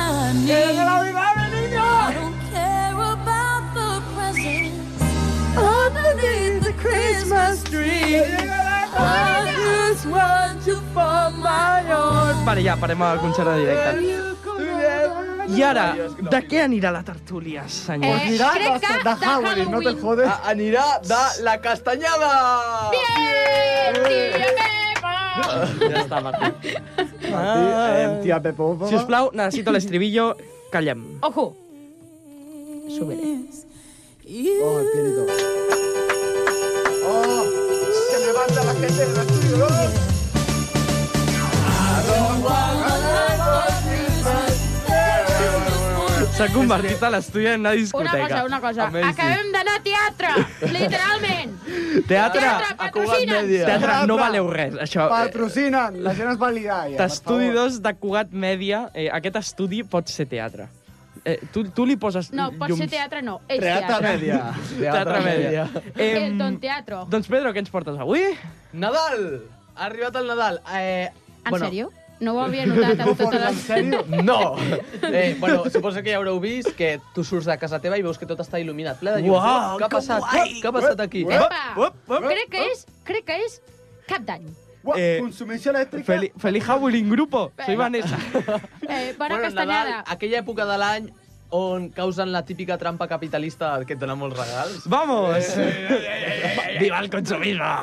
Speaker 7: Vale, ja, parem al concert de directe. I ara, de què anirà la tertúlia, senyor?
Speaker 5: Eh,
Speaker 6: Mirad,
Speaker 5: crec
Speaker 6: hasta-
Speaker 5: que
Speaker 6: de
Speaker 5: de
Speaker 6: Halloween, no te
Speaker 5: Halloween.
Speaker 6: jodes.
Speaker 8: A anirà de la castanyada!
Speaker 5: Bien, tia Pepa!
Speaker 7: Ja està, Martí.
Speaker 6: Ah. Tia Pepo,
Speaker 7: Si us plau, necessito l'estribillo. Callem.
Speaker 5: Ojo. Súbele.
Speaker 6: Oh, el pianito. Oh! Se levanta la gente del estudio, ¿no?
Speaker 7: S'ha convertit a l'estudi en una
Speaker 5: Una
Speaker 7: discoteca.
Speaker 5: cosa, una cosa.
Speaker 7: Amazing.
Speaker 5: Acabem d'anar a teatre, literalment.
Speaker 7: Teatre,
Speaker 5: Teatre, patrocina'ns.
Speaker 7: teatre, no valeu res, això.
Speaker 6: Patrocinen, la gent es va liar, ja, per
Speaker 7: T'estudi
Speaker 6: favor.
Speaker 7: 2 de Cugat Mèdia, eh, aquest estudi pot ser teatre. Eh, tu, tu li poses
Speaker 5: No, pot
Speaker 7: llums...
Speaker 5: ser teatre, no. És
Speaker 6: Reata
Speaker 5: teatre.
Speaker 6: media.
Speaker 7: Teatre Mèdia.
Speaker 5: El don teatro.
Speaker 7: doncs, Pedro, què ens portes avui?
Speaker 8: Nadal! Ha arribat el Nadal. Eh,
Speaker 5: En sèrio? No ho havia notat amb totes
Speaker 6: En
Speaker 5: les...
Speaker 6: sèrio?
Speaker 8: No! Eh, bueno, suposo que ja haureu vist que tu surts de casa teva i veus que tot està il·luminat, ple de llum.
Speaker 7: Uau,
Speaker 8: Què ha
Speaker 7: que
Speaker 8: passat?
Speaker 7: guai!
Speaker 8: Què ha passat aquí?
Speaker 5: Epa!
Speaker 7: Up, up, up,
Speaker 5: Crec que és, crec que és cap d'any.
Speaker 6: Ua,
Speaker 7: Eh,
Speaker 6: Consumició elèctrica?
Speaker 7: Feli, Feliz Halloween, grupo. Soy
Speaker 5: Venga.
Speaker 7: Vanessa.
Speaker 5: Eh, bona
Speaker 8: Nadal,
Speaker 5: castanyada.
Speaker 8: aquella època de l'any on causen la típica trampa capitalista que et dona molts regals.
Speaker 7: Vamos! Viva el consumismo!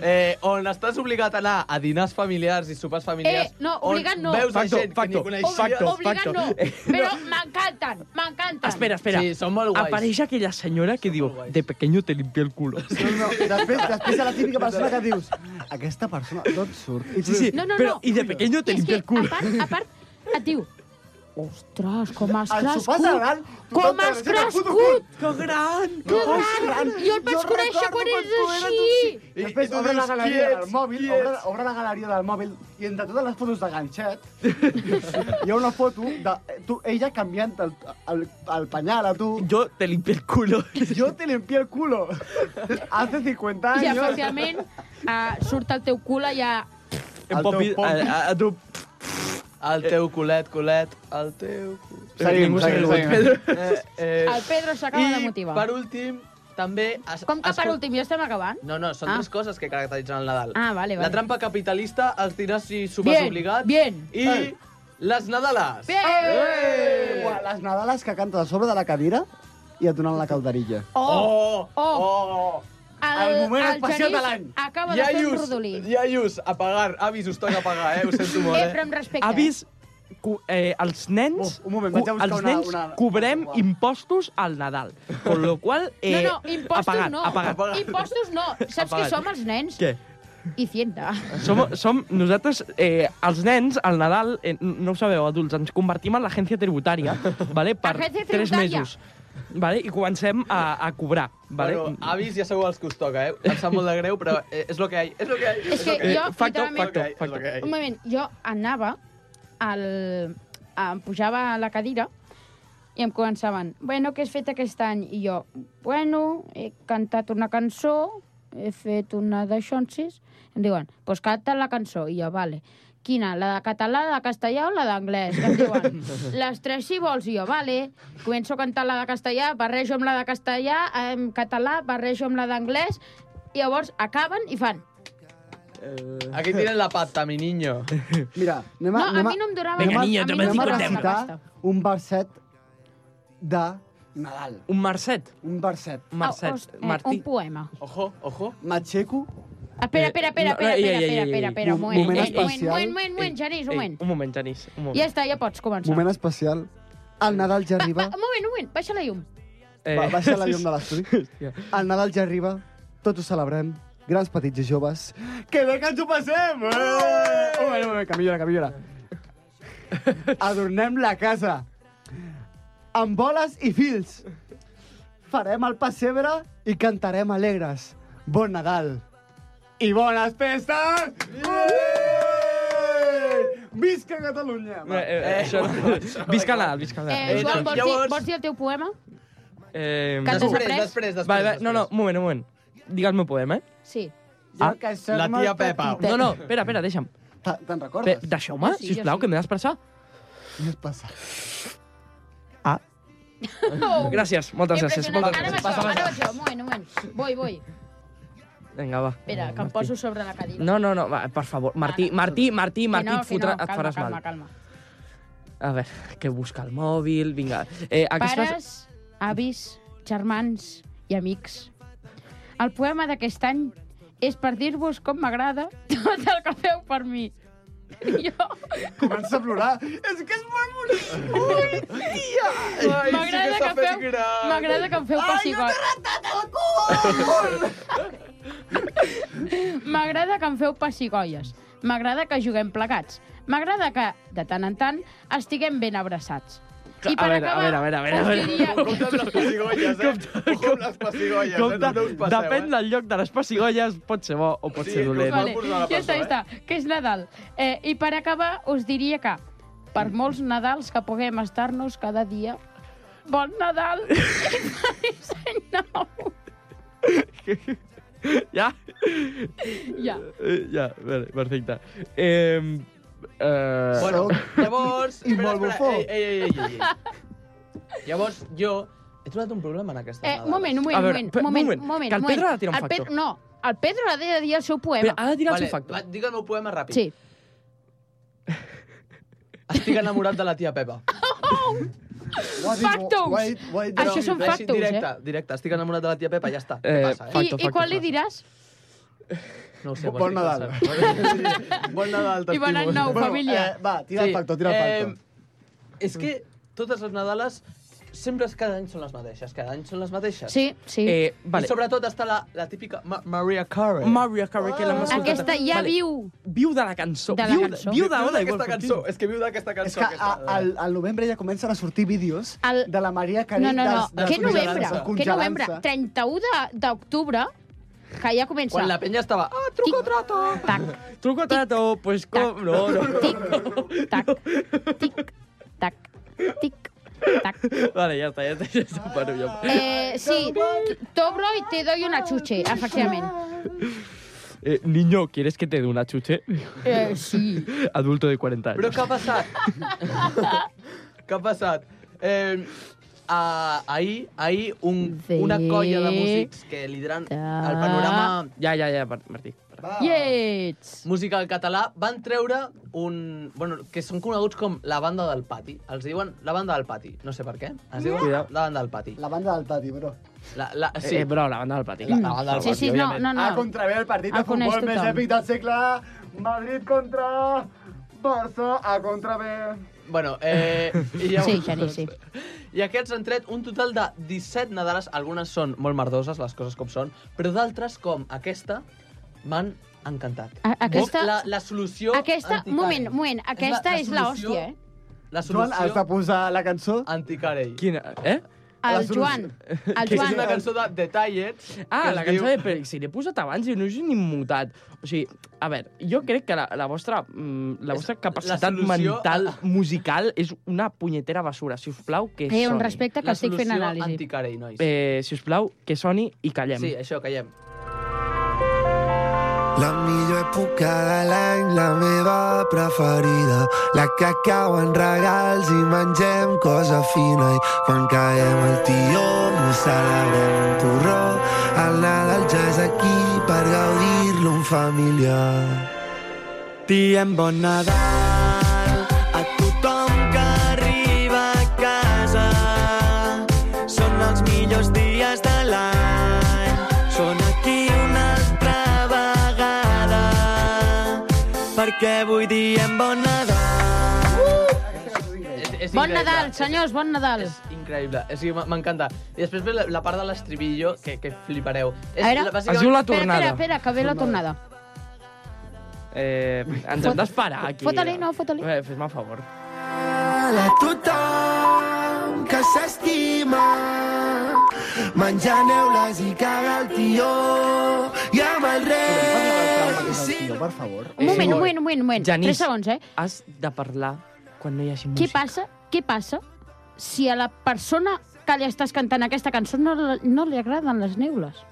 Speaker 8: Eh, on estàs obligat a anar a dinars familiars i sopars familiars.
Speaker 5: Eh, no,
Speaker 8: on
Speaker 5: obligat no.
Speaker 8: Veus
Speaker 7: Facto,
Speaker 8: a gent
Speaker 7: facto,
Speaker 8: que ni coneixes.
Speaker 7: facto. Eh,
Speaker 5: Obligat no, però m'encanten, m'encanten.
Speaker 7: Espera, espera.
Speaker 8: Sí, són molt guais.
Speaker 7: Apareix aquella senyora que diu,
Speaker 8: molt guais.
Speaker 7: de pequeño te limpié el culo.
Speaker 6: No, no, després, després de la típica persona que dius aquesta persona d'on surt? I
Speaker 7: Sí, sí,
Speaker 5: No, no,
Speaker 7: però
Speaker 5: no.
Speaker 7: i de pequeño te
Speaker 5: I és
Speaker 7: limpié
Speaker 5: que,
Speaker 7: el culo.
Speaker 5: A part, a part, et diu... Ostres, com has
Speaker 6: Al sopar
Speaker 5: crescut!
Speaker 6: de Nadal, tothom
Speaker 5: Com
Speaker 6: t'abraça
Speaker 5: has
Speaker 6: i t'acuda el
Speaker 5: crescut!
Speaker 7: Que gran!
Speaker 5: Que gran! Jo et vaig conèixer quan eres així!
Speaker 6: I després obre la galeria del mòbil, obre, obre la galeria del mòbil i entre totes les fotos de ganxet hi ha una foto de eh, tu, ella canviant el, el, el panyal a tu.
Speaker 7: Jo te limpié el culo.
Speaker 6: Yo te limpié el culo. Hace 50
Speaker 5: I,
Speaker 6: años.
Speaker 5: efectivament, eh, surt el teu cul allà...
Speaker 7: Em
Speaker 6: El
Speaker 7: pot
Speaker 6: teu
Speaker 7: dir-
Speaker 6: pom.
Speaker 7: a, a, a tu...
Speaker 8: Ah, El
Speaker 7: Eh.
Speaker 8: teu culet, culet, el teu culet.
Speaker 6: Seguim,
Speaker 7: Ningú s'ha
Speaker 6: seguim,
Speaker 7: cregut,
Speaker 6: seguim.
Speaker 7: Pedro.
Speaker 8: Eh, eh,
Speaker 5: El Pedro s'acaba de motivar.
Speaker 8: I per últim, també... Es,
Speaker 5: Com que
Speaker 8: es-
Speaker 5: per últim ja estem acabant?
Speaker 8: No, no, són
Speaker 5: Ah.
Speaker 8: tres coses que caracteritzen el Nadal.
Speaker 5: Ah, vale, vale.
Speaker 8: La trampa capitalista, els dinars i sopars
Speaker 5: Bien,
Speaker 8: obligats...
Speaker 5: bien.
Speaker 8: I les Nadales.
Speaker 5: Bé!
Speaker 6: Ua, Les nadales que cantes a sobre de la cadira i et donen la calderilla.
Speaker 5: Oh!
Speaker 8: Oh! Oh!
Speaker 6: el moment especial de
Speaker 5: Genís
Speaker 6: l'any.
Speaker 5: Acaba de fer un
Speaker 8: Iaius,
Speaker 5: rodolí.
Speaker 8: iaius, a pagar. Avis, us toca pagar, eh? Ho sento molt,
Speaker 5: Eh, però
Speaker 8: eh?
Speaker 5: amb respecte.
Speaker 7: Avis, cu, eh, els nens...
Speaker 6: Oh, un moment, vaig
Speaker 7: cu-
Speaker 6: a buscar
Speaker 7: els
Speaker 6: una-
Speaker 7: nens
Speaker 6: una-
Speaker 7: cobrem
Speaker 6: Uau.
Speaker 7: impostos al Nadal. Con lo qual... Eh,
Speaker 5: no, no, impostos
Speaker 7: apagat,
Speaker 5: no.
Speaker 7: Apagat.
Speaker 5: Impostos no. Saps
Speaker 7: Apagat.
Speaker 5: que som els nens?
Speaker 7: Què?
Speaker 5: Hacienda.
Speaker 7: Som, som nosaltres, eh, els nens, al Nadal, eh, no ho sabeu, adults, ens convertim en l'agència tributària, vale, per
Speaker 5: Agència
Speaker 7: tres
Speaker 5: tributària.
Speaker 7: mesos. Vale, I comencem a, a cobrar. Vale?
Speaker 8: Bueno, avis ja sou els que us toca, eh? Em sap molt de greu, però eh, és lo que hay. És lo que hay.
Speaker 5: És que
Speaker 8: lo hay.
Speaker 5: jo,
Speaker 7: facto,
Speaker 5: literalment-
Speaker 8: És lo
Speaker 7: facto,
Speaker 8: que hay, és lo
Speaker 7: facto.
Speaker 8: que hay.
Speaker 5: Un moment, jo anava, al, em pujava a la cadira i em començaven, bueno, què has fet aquest any? I jo, bueno, he cantat una cançó, he fet una de xonsis. Em diuen, doncs pues canta la cançó. I jo, vale. Quina? La de català, la de castellà o la d'anglès? Em diuen, les tres si vols. I jo, vale. Començo a cantar la de castellà, barrejo amb la de castellà, en català, barrejo amb la d'anglès. I llavors acaben i fan.
Speaker 8: Aquí tienen la pata, mi niño.
Speaker 6: Mira, anem a...
Speaker 5: No, a
Speaker 6: anem
Speaker 5: mi no em donava...
Speaker 7: Vinga,
Speaker 5: a
Speaker 7: niño,
Speaker 5: mi
Speaker 7: toma
Speaker 5: no em
Speaker 6: anem a
Speaker 5: donava
Speaker 7: cinco
Speaker 5: la
Speaker 6: recitar
Speaker 5: pasta.
Speaker 6: un verset de Nadal.
Speaker 7: Un marcet.
Speaker 6: Un verset.
Speaker 7: Marcet.
Speaker 5: Ah, host- eh,
Speaker 7: Martí.
Speaker 5: Un poema.
Speaker 8: Ojo, ojo.
Speaker 6: M'aixeco.
Speaker 5: Espera, espera, espera,
Speaker 7: no,
Speaker 5: espera,
Speaker 7: ei, ei,
Speaker 5: espera, espera,
Speaker 7: ei, ei,
Speaker 5: espera,
Speaker 7: ei.
Speaker 5: espera, un
Speaker 6: Mo-
Speaker 5: moment.
Speaker 6: moment
Speaker 5: eh, Un moment,
Speaker 6: especial.
Speaker 5: un moment, un
Speaker 7: Eh,
Speaker 5: moment, Genís, un
Speaker 7: Ei,
Speaker 5: moment.
Speaker 7: un moment, Genís. Un moment.
Speaker 5: Ja està, ja pots començar.
Speaker 6: Moment especial. El Nadal
Speaker 5: Va,
Speaker 6: ja
Speaker 5: va,
Speaker 6: arriba.
Speaker 5: un moment, un moment, baixa la llum.
Speaker 7: Eh,
Speaker 6: Va, baixa la llum de l'estudi.
Speaker 7: Hòstia.
Speaker 6: El Nadal ja arriba. Tots ho celebrem. Grans, petits i joves. Que bé que ens ho passem! Eh! Un moment, un moment, que millora, que millora. Adornem la casa. Amb boles i fils. Farem el pessebre i cantarem alegres. Bon Nadal. I bones festes! Yeah! Visca Catalunya!
Speaker 7: Eh,
Speaker 6: Va.
Speaker 7: eh, això no. Visca Nadal, visca Nadal.
Speaker 5: Eh, Joan, vols, dir,
Speaker 8: llavors-
Speaker 5: vols dir el teu poema?
Speaker 7: Eh,
Speaker 5: Canta
Speaker 7: després,
Speaker 5: després.
Speaker 8: després, després.
Speaker 7: vale, vale, no, no, un moment, un moment. Digue el meu poema, eh?
Speaker 5: Sí.
Speaker 6: Jo que soc
Speaker 8: la
Speaker 6: molt
Speaker 8: tia Pepa.
Speaker 6: petitet.
Speaker 7: No, no, espera, espera, deixa'm.
Speaker 6: Te- Te'n
Speaker 7: Pe-
Speaker 6: recordes?
Speaker 7: Deixeu-me,
Speaker 5: Jo sí, jo
Speaker 7: sisplau,
Speaker 5: sí.
Speaker 7: que m'he d'expressar.
Speaker 6: Què et passa?
Speaker 5: Oh,
Speaker 7: Gràcies, moltes gràcies.
Speaker 5: impressionant.
Speaker 7: Moltes
Speaker 5: Ara vaig
Speaker 7: gràcies.
Speaker 5: jo, ara vaig jo. Un moment, un moment. Voy, voy.
Speaker 7: Vinga, va.
Speaker 5: Espera, que em poso sobre la cadira.
Speaker 7: No, no, no, va, per favor. Martí, Martí, Martí, Martí,
Speaker 5: que
Speaker 7: et, fotrà, et
Speaker 5: calma,
Speaker 7: faràs
Speaker 5: calma,
Speaker 7: mal.
Speaker 5: Calma,
Speaker 7: A veure, que busca el mòbil, vinga. Eh,
Speaker 5: calma.
Speaker 7: aquestes...
Speaker 5: Pares, avis, germans i amics. El poema d'aquest any és per dir-vos com m'agrada tot el que feu per mi. Jo
Speaker 6: Comença a plorar. És que és molt bonic.
Speaker 5: m'agrada que, feu... M'agrada que em feu pessigolles. M'agrada que em feu pessigolles. M'agrada que juguem plegats. M'agrada que, de tant en tant, estiguem ben abraçats. I
Speaker 7: A veure, a veure, a veure, a veure, a veure.
Speaker 5: us diria...
Speaker 8: Compte amb les pessigolles, eh? Compte amb les pessigolles,
Speaker 7: Compte,
Speaker 8: eh? No us passeu,
Speaker 7: depèn del lloc de les pessigolles, pot ser bo o pot
Speaker 8: Sí,
Speaker 7: ser dolent.
Speaker 8: Vale.
Speaker 5: Vale.
Speaker 8: Vamos a la
Speaker 5: Ja està,
Speaker 8: presó,
Speaker 5: ja està, que és Nadal. Eh, I per acabar, us diria que per molts Nadals que puguem estar-nos cada dia, bon Nadal i feliç any nou.
Speaker 7: Ja?
Speaker 5: Ja.
Speaker 7: Eh, Ja, vale, perfecte. Eh, eh,
Speaker 8: Bueno,
Speaker 6: Sóc
Speaker 8: llavors...
Speaker 6: i molt bufó.
Speaker 8: Ei, ei, ei, ei, ei. Llavors, jo he trobat un problema en aquesta
Speaker 5: Eh, un moment, un moment,
Speaker 7: A
Speaker 5: un
Speaker 7: veure,
Speaker 5: moment,
Speaker 7: pe-
Speaker 5: un moment,
Speaker 7: moment,
Speaker 5: un moment.
Speaker 7: que el Pedro ha de tirar un
Speaker 5: El Pe-
Speaker 7: factor.
Speaker 5: No, el Pedro ha de dir el seu
Speaker 7: però ah,
Speaker 5: poema.
Speaker 7: ha de tirar el
Speaker 8: Vale,
Speaker 7: seu factor.
Speaker 8: va, digue el meu poema ràpid.
Speaker 5: Sí.
Speaker 8: Estic enamorat de la tia Pepa.
Speaker 6: Ho ha dit,
Speaker 5: Factos!
Speaker 6: ho ha dit, ho ha dit.
Speaker 5: Això
Speaker 6: Però-
Speaker 5: són
Speaker 8: Així,
Speaker 5: factos,
Speaker 8: directe,
Speaker 5: eh?
Speaker 8: directe. Estic enamorat de la tia Pepa, ja està.
Speaker 7: Eh,
Speaker 8: Què
Speaker 5: I,
Speaker 8: passa, eh?
Speaker 5: i
Speaker 7: Facto, facto,
Speaker 5: quan li
Speaker 7: facto.
Speaker 5: diràs?
Speaker 8: No ho sé.
Speaker 6: Bon
Speaker 8: vols dir que passa? Bon Nadal,
Speaker 5: I bon any nou, família.
Speaker 6: Eh, va, tira el factor, tira el factor.
Speaker 8: Eh, és que totes les Nadales sempre és cada any són les mateixes, cada any són les mateixes.
Speaker 5: Sí, sí.
Speaker 7: Eh,
Speaker 8: Vale.
Speaker 7: vale.
Speaker 8: I sobretot està la, la típica Ma Maria Carey.
Speaker 7: Maria Carey, que l'hem escoltat.
Speaker 5: Aquesta ja
Speaker 7: Vale,
Speaker 5: viu.
Speaker 7: Viu de la cançó.
Speaker 5: De la
Speaker 7: viu,
Speaker 5: cançó.
Speaker 7: Viu de Oda
Speaker 8: d'aquesta cançó. És que viu d'aquesta cançó.
Speaker 6: És que a,
Speaker 8: aquesta.
Speaker 6: al, al novembre ja comencen a sortir vídeos
Speaker 5: El-
Speaker 6: de la Maria Carey
Speaker 5: No, no, no.
Speaker 6: des- des-
Speaker 5: Què novembre?
Speaker 6: descongelant-se.
Speaker 5: Què novembre? 31 de- d'octubre, que ja comença.
Speaker 8: Quan la penya estava... Ah, truco trato!
Speaker 5: Tac,
Speaker 7: Truco trato, pues com... No, no.
Speaker 5: tic, tac, tic, tac, tic, tac.
Speaker 7: Vale, ja està, ja està. Ja està bueno, ja.
Speaker 5: Eh, sí, tobro i te doy una chuche, efectivament.
Speaker 7: Eh, niño, ¿quieres que te dé una chuche?
Speaker 5: Eh, sí.
Speaker 7: Adulto de 40 años.
Speaker 8: Però què ha passat? què ha passat? Eh, a, ahir, ahir un, una colla de músics que lideren el panorama
Speaker 7: Ja, ja, ja, Mar- Martí.
Speaker 5: Llets.
Speaker 8: musical català van treure un... Bueno, que són coneguts com la banda del pati. Els diuen la banda del pati. No sé per què. Es diuen
Speaker 7: Cuidao.
Speaker 8: la banda del pati.
Speaker 6: La banda del pati, bro.
Speaker 8: La, la,
Speaker 7: Sí,
Speaker 8: sí,
Speaker 7: eh, però la banda del pati.
Speaker 8: La- la banda del
Speaker 5: Sí, sí, no, no,
Speaker 6: No. A
Speaker 5: no.
Speaker 6: contravé el partit
Speaker 5: El
Speaker 6: de futbol
Speaker 5: coneix
Speaker 6: més
Speaker 5: tothom.
Speaker 6: èpic del segle. Madrid contra Barça a contravé.
Speaker 8: Bueno, eh, i, llavors,
Speaker 5: Sí, Geni, sí.
Speaker 8: i aquests han tret un total de 17 Nadales. Algunes són molt merdoses, les coses com són, però d'altres, com aquesta, m'han encantat.
Speaker 5: A- aquesta-
Speaker 8: La, la solució...
Speaker 5: Aquesta,
Speaker 8: anticarei.
Speaker 5: moment, moment, aquesta és la
Speaker 8: solució-
Speaker 5: hòstia, eh?
Speaker 8: La
Speaker 6: Joan, has de
Speaker 8: solució Ah.
Speaker 6: posar la cançó?
Speaker 8: anticarei.
Speaker 7: Quina? Eh?
Speaker 6: La
Speaker 5: El
Speaker 6: solució-
Speaker 5: Joan, el
Speaker 8: És una
Speaker 5: Joan.
Speaker 8: cançó de The Tired.
Speaker 7: Ah,
Speaker 8: que
Speaker 7: la
Speaker 8: es
Speaker 7: cançó de
Speaker 8: diu-
Speaker 7: Pérez. Si l'he posat abans i no us he ni mutat. O sigui, a veure, jo crec que la, la vostra, mm, la
Speaker 8: És-
Speaker 7: vostra
Speaker 8: la
Speaker 7: capacitat
Speaker 8: solució-
Speaker 7: mental musical és una punyetera basura. Si us plau, que
Speaker 5: Eh, un
Speaker 7: soni.
Speaker 5: respecte que
Speaker 8: La
Speaker 5: estic fent
Speaker 8: solució
Speaker 5: anàlisi.
Speaker 8: anticarei, nois.
Speaker 7: Eh, si us plau, que soni i callem.
Speaker 8: Sí, això, callem.
Speaker 9: La millor època de l'any, la meva preferida. La que cau en regals i mengem cosa fina. I quan caiem al tió, no celebrem un porró. El Nadal ja és aquí per gaudir-lo en família. Diem bon Nadal a tothom que arriba a casa. Són perquè avui diem bon Nadal.
Speaker 8: És, és
Speaker 5: Bon
Speaker 8: increïble.
Speaker 5: Nadal, senyors, bon Nadal.
Speaker 8: És increïble, o sigui, m- m'encanta. I després ve la, la part de l'estribillo, que, que flipareu. És,
Speaker 5: A veure.
Speaker 7: Es diu
Speaker 5: Espera,
Speaker 7: la
Speaker 5: espera,
Speaker 7: tornada.
Speaker 5: espera, que ve la tornada.
Speaker 7: Eh, ens
Speaker 5: Fot-
Speaker 7: hem d'esperar aquí.
Speaker 5: fota-li, no, fota-li.
Speaker 7: Eh, Fes-me a favor.
Speaker 9: A tothom que s'estima, menjar neules i caga el tió, i amb el rei... Sí,
Speaker 6: Tio, per favor.
Speaker 5: Un moment,
Speaker 7: molt.
Speaker 5: un moment, un moment, un moment.
Speaker 7: Genís.
Speaker 5: Tres segons, eh?
Speaker 7: Has de parlar quan no hi hagi
Speaker 5: Què
Speaker 7: música.
Speaker 5: passa, què passa si a la persona que li estàs cantant aquesta cançó no, l- no li agraden les neules?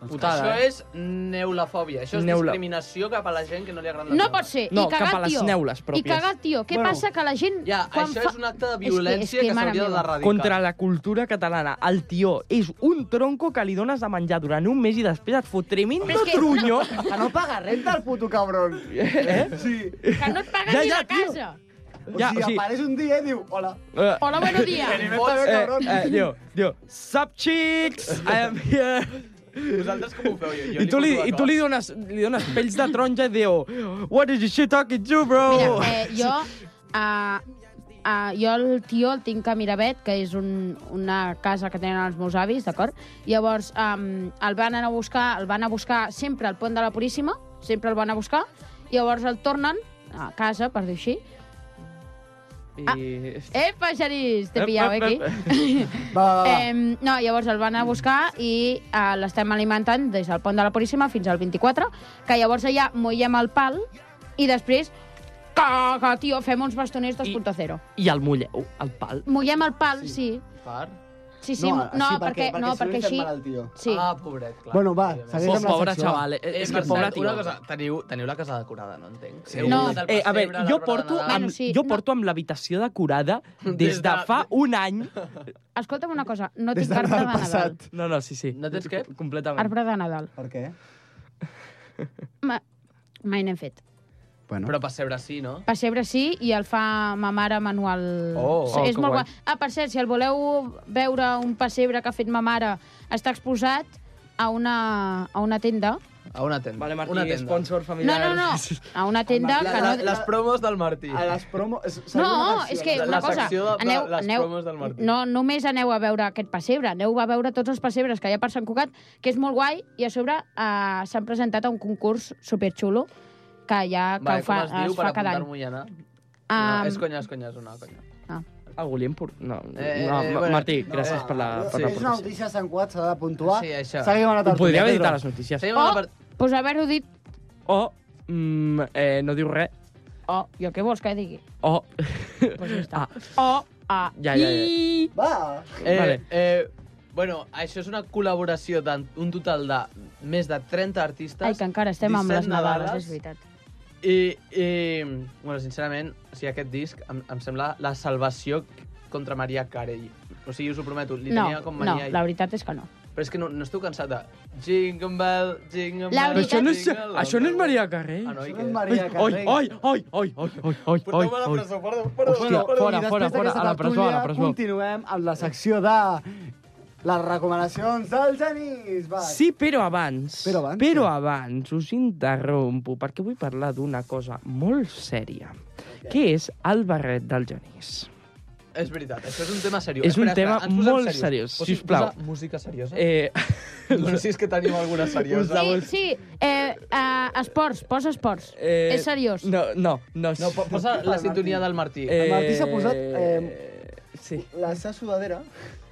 Speaker 8: Això
Speaker 7: Putada, eh?
Speaker 8: és neulafòbia, això és
Speaker 7: Neula.
Speaker 8: discriminació cap a la gent que no li agrada
Speaker 5: No pot ser.
Speaker 7: No,
Speaker 5: I cagar,
Speaker 7: cap a les
Speaker 5: tio.
Speaker 7: neules pròpies.
Speaker 5: I cagar, tio. Què
Speaker 6: Bueno.
Speaker 5: passa que la gent...
Speaker 8: Ja,
Speaker 5: quan
Speaker 8: això
Speaker 5: fa-
Speaker 8: és un acte de
Speaker 5: És que-
Speaker 8: violència
Speaker 5: és que,
Speaker 8: que,
Speaker 5: mare
Speaker 8: s'hauria
Speaker 5: meva.
Speaker 8: d'erradicar.
Speaker 7: Contra la cultura catalana, el tió és un tronco que li dones de menjar durant un mes i després et fot tremendo
Speaker 5: Però és que-
Speaker 7: trunyo.
Speaker 6: Que no paga renta el puto cabron. Eh? Sí.
Speaker 5: Que no et paguen
Speaker 7: Ja,
Speaker 5: ni
Speaker 7: ja,
Speaker 5: la
Speaker 7: tio.
Speaker 5: casa.
Speaker 6: O sigui, ja, o sigui... apareix un dia i diu, hola.
Speaker 7: Eh,
Speaker 5: Hola, buenos días.
Speaker 6: Fots,
Speaker 7: eh,
Speaker 6: cabron.
Speaker 7: eh, diu, diu, sup chicks, I am here.
Speaker 8: Vosaltres com ho feu? Jo, jo
Speaker 7: I tu, li, i tu li, dones, li dones pells de taronja i diu, what is this shit talking to, bro?
Speaker 5: Mira, eh, jo... Uh, Uh, jo el tio el tinc a Miravet, que és un, una casa que tenen els meus avis, d'acord? Llavors, um, el van anar a buscar, el van a buscar sempre al pont de la Puríssima, sempre el van a buscar, llavors el tornen a casa, per dir així. ah,
Speaker 7: I...
Speaker 5: Epa, Genís, t'he
Speaker 7: Ep,
Speaker 5: pillat
Speaker 7: ep,
Speaker 5: eh, aquí.
Speaker 7: ep.
Speaker 6: Va, va, va.
Speaker 5: Eh, no, llavors el van a buscar i eh, l'estem alimentant des del pont de la Puríssima fins al 24, que llavors allà mollem el pal i després, caga, tio, fem uns bastoners 2.0.
Speaker 7: I el mulleu, el pal.
Speaker 5: Mullem el pal, sí.
Speaker 8: Per?
Speaker 5: Sí, sí, no, no perquè, no,
Speaker 6: si li
Speaker 5: perquè
Speaker 6: fem
Speaker 5: així...
Speaker 6: mal al tio.
Speaker 5: Sí.
Speaker 8: Ah, pobret, clar.
Speaker 6: Bueno, va,
Speaker 8: Evidentment.
Speaker 6: segueix
Speaker 7: Oh,
Speaker 6: amb la
Speaker 7: pobre
Speaker 6: secció.
Speaker 7: xaval, eh, és que
Speaker 8: Marcel,
Speaker 7: pobre tio.
Speaker 8: Una cosa, teniu, teniu la casa decorada, no entenc. Sí.
Speaker 5: No.
Speaker 7: Eh, a veure, jo porto,
Speaker 5: Bueno,
Speaker 7: amb,
Speaker 5: sí,
Speaker 7: jo
Speaker 5: no.
Speaker 7: porto amb l'habitació decorada des
Speaker 8: Des
Speaker 7: de
Speaker 8: de-
Speaker 7: fa un any.
Speaker 5: Escolta'm una cosa, no
Speaker 6: Des
Speaker 5: tinc
Speaker 6: de
Speaker 5: arbre de
Speaker 6: l'any
Speaker 5: Nadal.
Speaker 6: passat.
Speaker 7: No, no, sí, sí.
Speaker 8: No tens què?
Speaker 7: Completament.
Speaker 5: Arbre de Nadal.
Speaker 6: Per què?
Speaker 5: Ma... Mai n'hem fet.
Speaker 6: Bueno.
Speaker 8: Però pessebre sí, no?
Speaker 5: Pessebre sí, i el fa ma mare manual.
Speaker 8: Oh,
Speaker 5: Sí,
Speaker 7: oh,
Speaker 5: és
Speaker 7: que
Speaker 5: molt
Speaker 7: guai.
Speaker 5: guai. Ah, per cert, si el voleu veure un pessebre que ha fet ma mare, està exposat a una, a una tenda.
Speaker 8: A una tenda.
Speaker 7: Vale, Martí,
Speaker 8: una tenda.
Speaker 7: sponsor
Speaker 5: No,
Speaker 7: familiar.
Speaker 5: no, no, a una tenda
Speaker 6: Home,
Speaker 5: que
Speaker 8: La,
Speaker 5: no...
Speaker 8: les promos del Martí.
Speaker 6: A les promo... és- seria una
Speaker 5: No,
Speaker 6: canció,
Speaker 5: és que
Speaker 8: la-
Speaker 5: una
Speaker 8: la
Speaker 5: cosa,
Speaker 8: secció de- de-
Speaker 5: aneu,
Speaker 8: les
Speaker 5: aneu,
Speaker 8: promos del Martí.
Speaker 5: no només aneu a veure aquest pessebre, aneu a veure tots els pessebres que hi ha per Sant Cugat, que és molt guai, i a sobre eh, s'han presentat a un concurs superxulo que ja que
Speaker 8: Vale,
Speaker 5: ho fa,
Speaker 8: com es diu per
Speaker 5: fa cada any.
Speaker 8: apuntar-m'ho i anar?
Speaker 5: Ah,
Speaker 8: no, és conya, és conya, és una conya.
Speaker 7: Algú li hem por... Ah, No, no,
Speaker 8: Eh, eh,
Speaker 7: Ma-
Speaker 8: bueno.
Speaker 7: Martí,
Speaker 8: No,
Speaker 7: gràcies per la,
Speaker 6: No,
Speaker 7: per
Speaker 8: sí.
Speaker 7: la
Speaker 6: és una
Speaker 7: aportació.
Speaker 6: notícia de Sant Cuat, s'ha de puntuar.
Speaker 8: Sí, això.
Speaker 6: Seguim amb la
Speaker 7: Ho
Speaker 6: tertúlia.
Speaker 7: podríem
Speaker 6: Pedro.
Speaker 7: editar, les notícies.
Speaker 8: Seguim
Speaker 5: Oh!
Speaker 8: amb la part...
Speaker 5: pues haver-ho dit...
Speaker 7: O, mm, eh, no diu res.
Speaker 5: Oh, jo què vols que digui?
Speaker 7: O,
Speaker 5: Pues ja està.
Speaker 7: ah,
Speaker 5: Oh, ah,
Speaker 7: ja, ja, ja.
Speaker 5: i...
Speaker 6: Va.
Speaker 8: Eh,
Speaker 7: Vale.
Speaker 8: eh, bueno, això és una col·laboració d'un total de més de 30 artistes.
Speaker 5: Ai, que encara estem amb les
Speaker 8: 17
Speaker 5: Nadales,
Speaker 8: Nadales.
Speaker 5: és veritat.
Speaker 8: I, i bueno, sincerament, o sigui, aquest disc em, em sembla la salvació contra Maria Carey. O sigui, us ho prometo, li
Speaker 5: No,
Speaker 8: tenia com
Speaker 5: no,
Speaker 8: mania.
Speaker 5: la veritat és que no.
Speaker 8: Però és que no, no esteu cansat de... Jingle bell, jingle
Speaker 5: La
Speaker 8: bell,
Speaker 7: Però això no és,
Speaker 8: jingle all
Speaker 7: això no
Speaker 8: the
Speaker 7: és
Speaker 8: way.
Speaker 7: Maria Carré.
Speaker 8: doncs. Ah, no, i
Speaker 6: Això
Speaker 8: què?
Speaker 6: no és
Speaker 7: Ai,
Speaker 6: Maria
Speaker 7: ai,
Speaker 6: Carrey.
Speaker 7: ai, ai, ai, ai, ai, ai,
Speaker 8: Porteu-me a la
Speaker 7: ai.
Speaker 8: presó, perdó, perdó.
Speaker 7: Hòstia,
Speaker 8: perdó.
Speaker 7: fora,
Speaker 6: I
Speaker 7: fora,
Speaker 6: després
Speaker 7: fora,
Speaker 6: d'aquesta
Speaker 7: a la presó, a la
Speaker 6: tertúlia
Speaker 7: presó.
Speaker 6: Continuem amb la secció de les recomanacions del Genís. Va.
Speaker 7: Sí, però abans,
Speaker 6: Però abans,
Speaker 7: però
Speaker 6: sí.
Speaker 7: abans us interrompo perquè vull parlar d'una cosa molt sèria, que és el barret del Genís.
Speaker 8: És veritat, això és un tema seriós.
Speaker 7: És un
Speaker 8: Espera, espera,
Speaker 7: tema
Speaker 8: ens posem
Speaker 7: molt
Speaker 8: serios.
Speaker 7: seriós,
Speaker 8: Pots
Speaker 7: sisplau.
Speaker 8: posar música seriosa? Eh.
Speaker 7: Eh,
Speaker 8: No sé si és que tenim alguna seriosa.
Speaker 5: Sí, sí, eh, eh, esports, posa esports.
Speaker 7: eh,
Speaker 5: És seriós.
Speaker 7: No, no, no.
Speaker 8: No, po- posa la sintonia del Martí.
Speaker 7: Eh,
Speaker 6: El Martí s'ha posat, eh,
Speaker 7: Sí,
Speaker 6: La seva sudadera.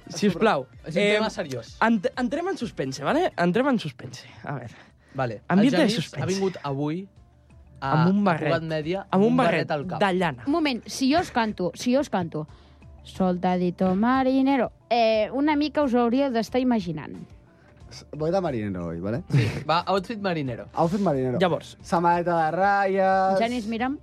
Speaker 7: si us plau.
Speaker 8: És un tema seriós.
Speaker 7: ent entrem en suspense, vale? Entrem en suspense. A veure.
Speaker 8: Vale.
Speaker 7: Ambient
Speaker 8: el
Speaker 7: de
Speaker 8: Genís
Speaker 7: suspense.
Speaker 8: ha vingut avui a,
Speaker 7: Amb un
Speaker 8: a
Speaker 7: barret.
Speaker 8: Cugat Mèdia
Speaker 7: Amb un barret,
Speaker 8: al cap.
Speaker 7: de llana.
Speaker 5: Un moment, si jo us canto, si jo us canto, soldadito marinero, eh, una mica us ho hauríeu d'estar imaginant.
Speaker 6: Voy de marinero hoy, ¿vale?
Speaker 8: Va, outfit marinero.
Speaker 6: Outfit marinero.
Speaker 7: Llavors,
Speaker 6: Samarreta de ratlles...
Speaker 5: Janis, mira'm.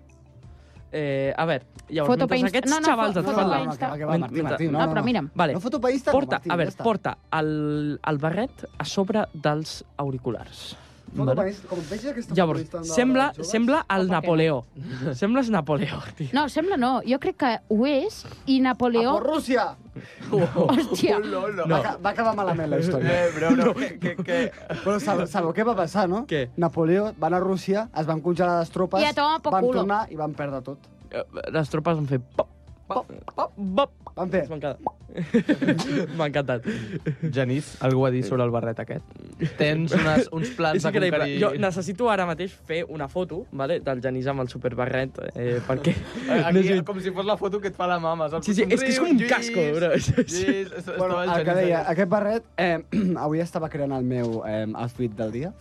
Speaker 7: eh, a veure, llavors,
Speaker 5: Foto
Speaker 7: mentre
Speaker 5: pa Insta-
Speaker 7: aquests
Speaker 5: no, no,
Speaker 7: xavals
Speaker 5: fo-
Speaker 7: et
Speaker 5: foto
Speaker 7: fan
Speaker 5: pa
Speaker 7: la...
Speaker 5: Insta.
Speaker 7: Men-
Speaker 6: Martí,
Speaker 7: mentre-
Speaker 6: Martí, no,
Speaker 5: No, però mira'm.
Speaker 7: Vale.
Speaker 6: No foto pa Insta,
Speaker 7: porta,
Speaker 6: Martí,
Speaker 7: a
Speaker 6: ja
Speaker 7: veure,
Speaker 6: està.
Speaker 7: porta el, el barret a sobre dels auriculars.
Speaker 6: No,
Speaker 7: Vale.
Speaker 6: com, és, com veig aquesta foto
Speaker 7: Llavors,
Speaker 6: d'Instagram de
Speaker 7: sembla,
Speaker 6: joves,
Speaker 7: sembla el
Speaker 5: Opa,
Speaker 7: Napoleó. Sembles Napoleó, tio.
Speaker 5: No, sembla no. Jo crec que ho és i
Speaker 6: A
Speaker 5: Napoleó...
Speaker 6: por Ah, Rússia!
Speaker 5: Hòstia,
Speaker 6: Va, ca- va acabar malament la història.
Speaker 8: Eh, bro, no, que, que, que...
Speaker 6: Però sabeu, sabeu què va passar, no?
Speaker 7: Què?
Speaker 6: Napoleó van a Rússia, es van congelar les tropes,
Speaker 5: I a tomar por
Speaker 6: van
Speaker 5: culo.
Speaker 6: tornar i van perdre tot.
Speaker 7: Eh, Les tropes han fet... Pop, pop, pop, pop.
Speaker 6: Van fer...
Speaker 7: M'ha encantat. M'ha encantat.
Speaker 8: Genís, algú ha dit sobre el barret aquest. Tens unes, uns plans
Speaker 7: És
Speaker 8: de
Speaker 7: increïble.
Speaker 8: conquerir...
Speaker 7: Jo necessito ara mateix fer una foto vale, del Genís amb el superbarret, eh, perquè...
Speaker 8: Eh,
Speaker 7: no
Speaker 8: Aquí,
Speaker 7: sé-
Speaker 8: com si fos la foto que et fa la mama, saps?
Speaker 7: Sí, sí, és que és com un casco, bro.
Speaker 8: Lluís, estava
Speaker 6: Bueno,
Speaker 8: el
Speaker 6: el que
Speaker 8: Genís
Speaker 6: deia,
Speaker 8: allà.
Speaker 6: aquest barret, eh, avui estava creant el meu eh, outfit del dia.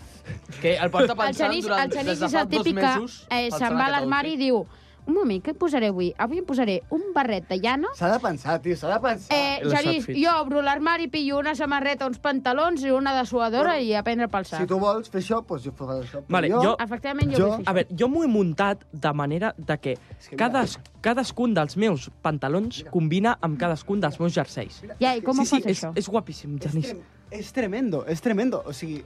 Speaker 8: Que el porta
Speaker 5: el
Speaker 8: pensant
Speaker 5: Genís,
Speaker 8: durant...
Speaker 5: el Genís
Speaker 8: des de
Speaker 5: és
Speaker 8: fa
Speaker 5: el
Speaker 8: dos
Speaker 5: típic que
Speaker 8: mesos,
Speaker 5: eh,
Speaker 8: pensant
Speaker 5: se'n
Speaker 8: en
Speaker 5: va a
Speaker 8: aquest
Speaker 5: l'armari i
Speaker 8: outfit.
Speaker 5: diu un moment, què em posaré avui? Avui em posaré un barret de llana
Speaker 6: S'ha de pensar, tio, s'ha de
Speaker 8: Ah,
Speaker 6: pensar.
Speaker 5: Eh,
Speaker 7: les
Speaker 5: Genís,
Speaker 7: outfits.
Speaker 5: jo obro l'armari, pillo una samarreta, uns pantalons i una dessuadora i a prendre pel sac.
Speaker 6: Si tu vols fer això, doncs jo faré això. Però
Speaker 7: Vale, jo-
Speaker 5: Efectivament, jo, jo...
Speaker 6: Jo-
Speaker 5: vull
Speaker 7: A
Speaker 5: fer això.
Speaker 7: veure, jo m'ho he muntat de manera de que cadas, cadascun dels meus pantalons combina amb cadascun dels meus jerseis.
Speaker 6: Ah,
Speaker 5: Ja, i com ho
Speaker 7: sí, sí,
Speaker 5: fas,
Speaker 7: és,
Speaker 5: això?
Speaker 7: és guapíssim,
Speaker 6: És,
Speaker 7: Genís.
Speaker 6: trem és tremendo, és tremendo. O sigui,